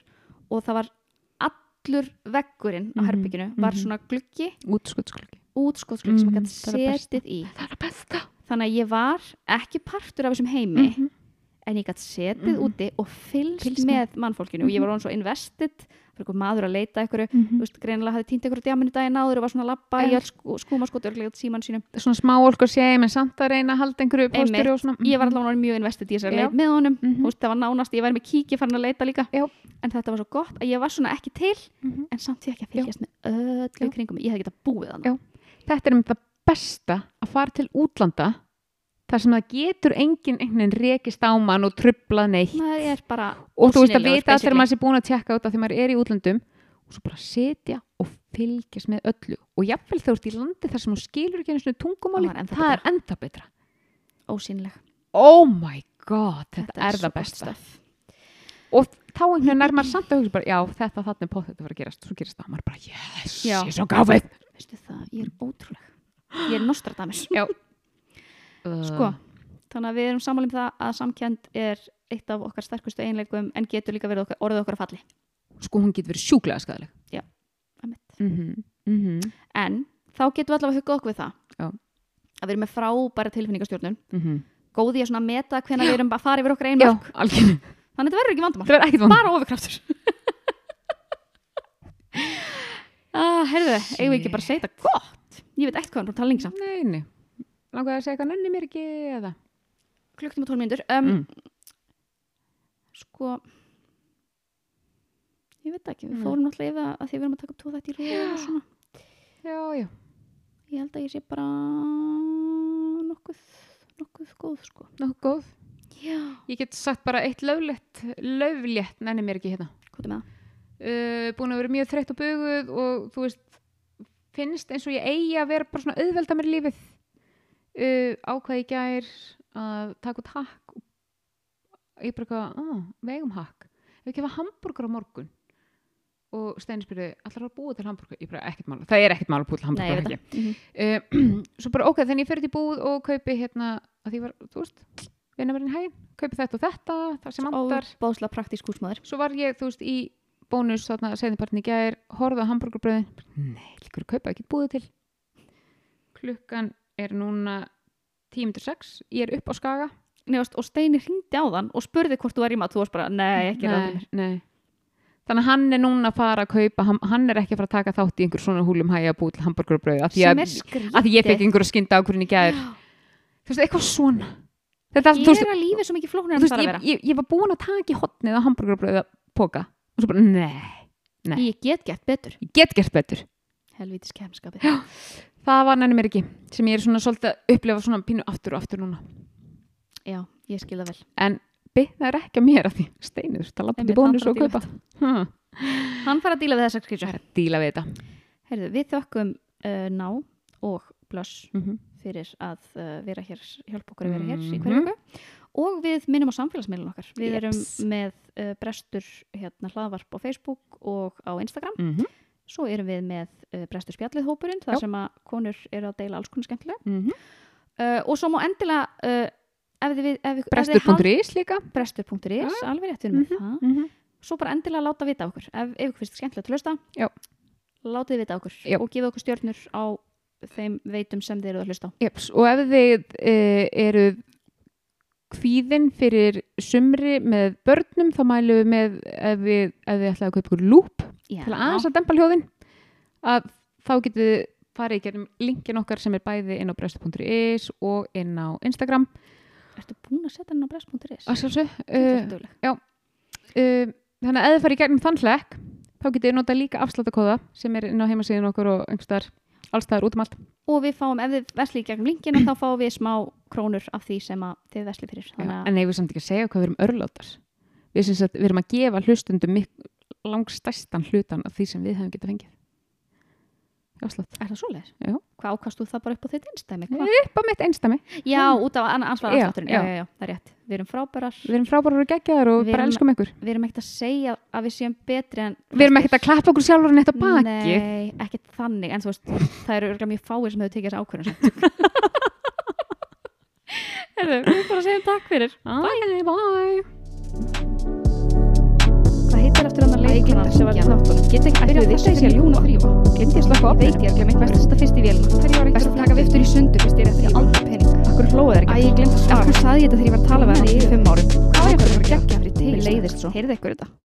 A: og það var allur veggurinn á
B: Mhm,
A: herbygginu var
B: mhm.
A: svona gluggi,
B: útskottsklöki
A: útskottsgluggi sem
B: Mhm,
A: maður
B: það er
A: gæti
B: það
A: setið í
B: það er að besta
A: þannig að ég var ekki partur af þessum heimi en ég gæti setið
B: Mhm.
A: úti og fylgst
B: Fylgst
A: með mannfólkinu og ég
B: Mhm.
A: var orðin svo invested fyrir einhver maður að leita einhverju
B: mm
A: þú veist, greinilega hafði týnt einhverju djáminu daginn áður og var svona að labba
B: Já.
A: í all skú, skúmaskot örglega síman sínum
B: svona smá orku að segja en samt að reyna að halda einhverju
A: Einmitt.
B: póstur og svona
A: ég var allavega orðin mjög investið í þessari
B: Mhm. Já.
A: leit með honum
B: Mhm.
A: þú veist, það var nánast, ég væri með kíki farin að leita líka
B: Já. Mhm.
A: en þetta var svo gott að ég var svona ekki til en samt því ekki að fylgjast með öllu
B: Já.
A: kringum mig. ég hefði getað búið hann
B: Já. þetta er um það besta að fara til útlanda þar sem það getur enginn einhvern veginn rekist á mann og trublað neitt
A: maður er bara
B: og þú veist að
A: ósýnilegur,
B: vita allir að
A: basically.
B: maður sé búin að tjekka út af því maður er í útlöndum og svo bara setja og fylgjast með öllu og jafnvel þú ert í landi þar sem þú skilur ekki einu sinni
A: Það
B: tungumáli
A: er
B: það,
A: ennþá
B: er enda betra
A: ósýnileg
B: oh my god, þetta, er
A: svo
B: það
A: gott
B: besta
A: stöf.
B: og þá einhvern veginn er maður samt að hugsa bara já, þetta þarna er pottet að fara að gerast svo gerist það, og maður bara yes,
A: Já.
B: ég er svo gáfið
A: Veistu það, ég er ótrúleg ég er Nostradamus
B: Já. Uh.
A: sko, þannig að við erum sammálið um það að samkjönd er eitt af okkar sterkustu einleikum en getur líka verið okkar, orðið okkar að falli
B: sko hún getur verið sjúklega skadaleg
A: Einmitt.
B: mm -hmm.
A: en þá getum við allavega að hugga okkur við það
B: Já.
A: að við erum með frábæra tilfinningastjórnun
B: Mm -hmm.
A: góði ég svona að meta hvenær við erum bara að fara yfir okkar
B: já,
A: einmörk
B: algjörn
A: þannig að þetta verður ekki vandamál
B: (laughs) það er ekkert vond
A: bara ofurkraftur ah, heyrðu, eigum við ekki bara að segja þetta gott ég veit ekkert hvað hann er búin að tala lengi samt
B: nei, nei, langaði að segja eitthvað nenni mér ekki eða
A: klukktum og tólf mínútur um,
B: Mm.
A: sko ég veit ekki, við
B: Mm.
A: fórum náttúrulega yfir að- að því við erum að taka upp tvo þetta í rúð og svona
B: já, já
A: ég held að ég sé bara nokkuð nokkuð góð sko
B: Nú, góð.
A: já,
B: Ég get sagt bara eitt löflétt, löflétt, nenni mér ekki hérna.
A: hvað er með það?
B: Uh, búin að vera mjög þreytt og buguð og þú veist, finnst eins og ég eigi að vera bara svona auðvelda mér lífið. Uh, ákvaði í gær að taka út hakk. og Ég bara eitthvað, að, vegum hakk. Ef ekki hafa hambúrgar á morgun. Og Steini spyrði, allar að búa til hambúrgar? Ég bara, ekkert mál. Það er ekkert mál að búa
A: Nei,
B: til
A: ég
B: hambúrgar,
A: veit það mm
B: uh, (clears throat) svo bara ok, þannig ég fyrir til búð og kaupi hérna, að því var, þú veist vinnamörinn hæg, kaupi þetta og þetta það sem andar,
A: bóðslega praktísk húsmaður
B: svo var ég, þú veist, í bónus þarna segðinpartin í gær, horfði á hambúrgarbröðin nei, líkur að kaupa ekki búið til klukkan er núna 10.06, ég er upp á skaga
A: Nefast, og Steini hringdi á þann og spurði hvort þú var í maður þú varst bara, nei, ekki ráðum
B: nei, nei. þannig að hann er núna að fara að kaupa, hann, hann er ekki að fara að taka þátt í einhver svona húlum hæg að búið til hambúrgarbröði af því
A: sem
B: að,
A: er skrítið
B: að ég fekk einhverja skynda ákvörðin í gær þú veist, eitthvað svona þetta, þú veist,
A: gera lífið svo mikið flóknir en
B: þú
A: það
B: veist
A: þarf að
B: ég,
A: vera
B: ég, ég var búin að taka í hotnið á hambúrgarbröða póka og svo bara, nei, ég-
A: ég get gett betur
B: ég get gert betur
A: helvítis kemskapi
B: það var nenni mér ekki, sem ég er svona svolítið að upplifa svona pínu aftur og aftur núna
A: já, ég skil það vel
B: en bitnar ekki á mér að því steinuð, það lappið
A: Einmitt,
B: í bónus
A: hann
B: og
A: þarf að
B: kaupa Ha,
A: hann fara að díla við þessar
B: það
A: skrýtsu
B: er að díla við þetta
A: Heyrðu, við þökkum uh, ná og blöss
B: mm -hmm.
A: fyrir að uh, vera hér hjálpa okkur að vera hér í
B: Mhm.
A: hverju viku og við minnum á samfélagsmiðlun okkar við
B: Jeps.
A: erum með uh, brestur hérna hlaðvarp á Facebook og á Instagram
B: Mm -hmm.
A: svo erum við með uh, brestur spjallið hópurinn þar
B: Já.
A: sem að konur eru að deila alls konar skemmtilega
B: Mhm.
A: uh, og svo má endilega uh, ef þið, við- ef, ef þið haldið-
B: brestur.is líka
A: brestur.is,
B: Já.
A: alveg rétt við erum með það
B: mm -hmm.
A: svo bara endilega láta vita okkur ef ef ykkur finnst skemmtilegt að hlusta
B: Já.
A: látið vita okkur
B: Já.
A: og gefa okkur stjörnur á þeim veitum sem þið eruð að hlusta á
B: Jeps, og ef þið uh, eru kvíðin fyrir sumri með börnum þá mælum við með ef við, ef við ætlaði að kaupa ykkur lúp
A: Já.
B: til aðeins að dempa hljóðin að þá getið þið farið í gerum linkin okkar sem er bæði inn á brestu.is og inn á Instagram
A: Ertu búin að setja hann á brest.is?
B: að sjálfsög uh,
A: Uh,
B: um, þannig að ef þið farið í gegnum þann hlekk þá getið þið nota líka afsláttakóða sem er inn á heimasíðin okkur og einhverstaðar allstaðar út um allt
A: og við fáum, ef þið veslið í gegnum linkinu þá fáum við smá krónur af því sem að þið veslið fyrir
B: Já,
A: þannig að
B: en eigum við samt ekki að segja hvað við erum örlátar við, syns að, við erum að gefa hlustundum mik- langstærstan hlutan af því sem við hefum getað fengið afslátt
A: er það svoleiðis?
B: Já.
A: Hvað ákast þú það bara upp á þitt innstæmi? (laughs)
B: Nei.
A: Hvað?
B: upp á mitt einstami,
A: Já, út af ansvar
B: Já,
A: afslátturinn, já,
B: já.
A: já, já, það er rétt Við erum frábærar,
B: við erum frábærar og geggjaðar og
A: Við
B: bara
A: erum-
B: elskum ykkur
A: við erum ekkert að segja að við séum betri en
B: við erum ekkert að klappa okkur sjálfur neitt á baki
A: Nei, ekkert þannig, en þú veist, það eru örugglega mjög fáir sem hefur tekið þessi ákvörðun samt. (laughs) Herðu, við bara segjum takk fyrir.
B: bye, bye.
A: Hvað heitir eftir hann að
C: Æ, ég gleymdi
A: leikona
C: að
A: sem var í
C: segja
A: þáttunum?
C: Get ekki
A: Ætli
C: byrjað
A: þið
C: þessu
A: séu
C: fyrir
A: að ljúga?
C: ljúna þrýfa. Glemt ég að slaka á Ég veit ég, upphitun. ég glemir Best að best setja fyrst í vélina. Þegar ég var Best eitthvað að taka viftur í sundur fyrst ég er Ég eftir er alveg aldrei pening.
A: Akkur hlóðu þær
C: Æ,
A: ekki?
C: ég glemt að
A: Af
C: svara.
A: hverju saði ég þetta þegar ég var að tala við það í
C: Nei.
A: fimm árum?
C: Hvað var ég að fara að gera?
A: gegja fyrir til?
C: Mér
A: Mér
C: leiðist svo.
A: Heyrðu ykkur þetta?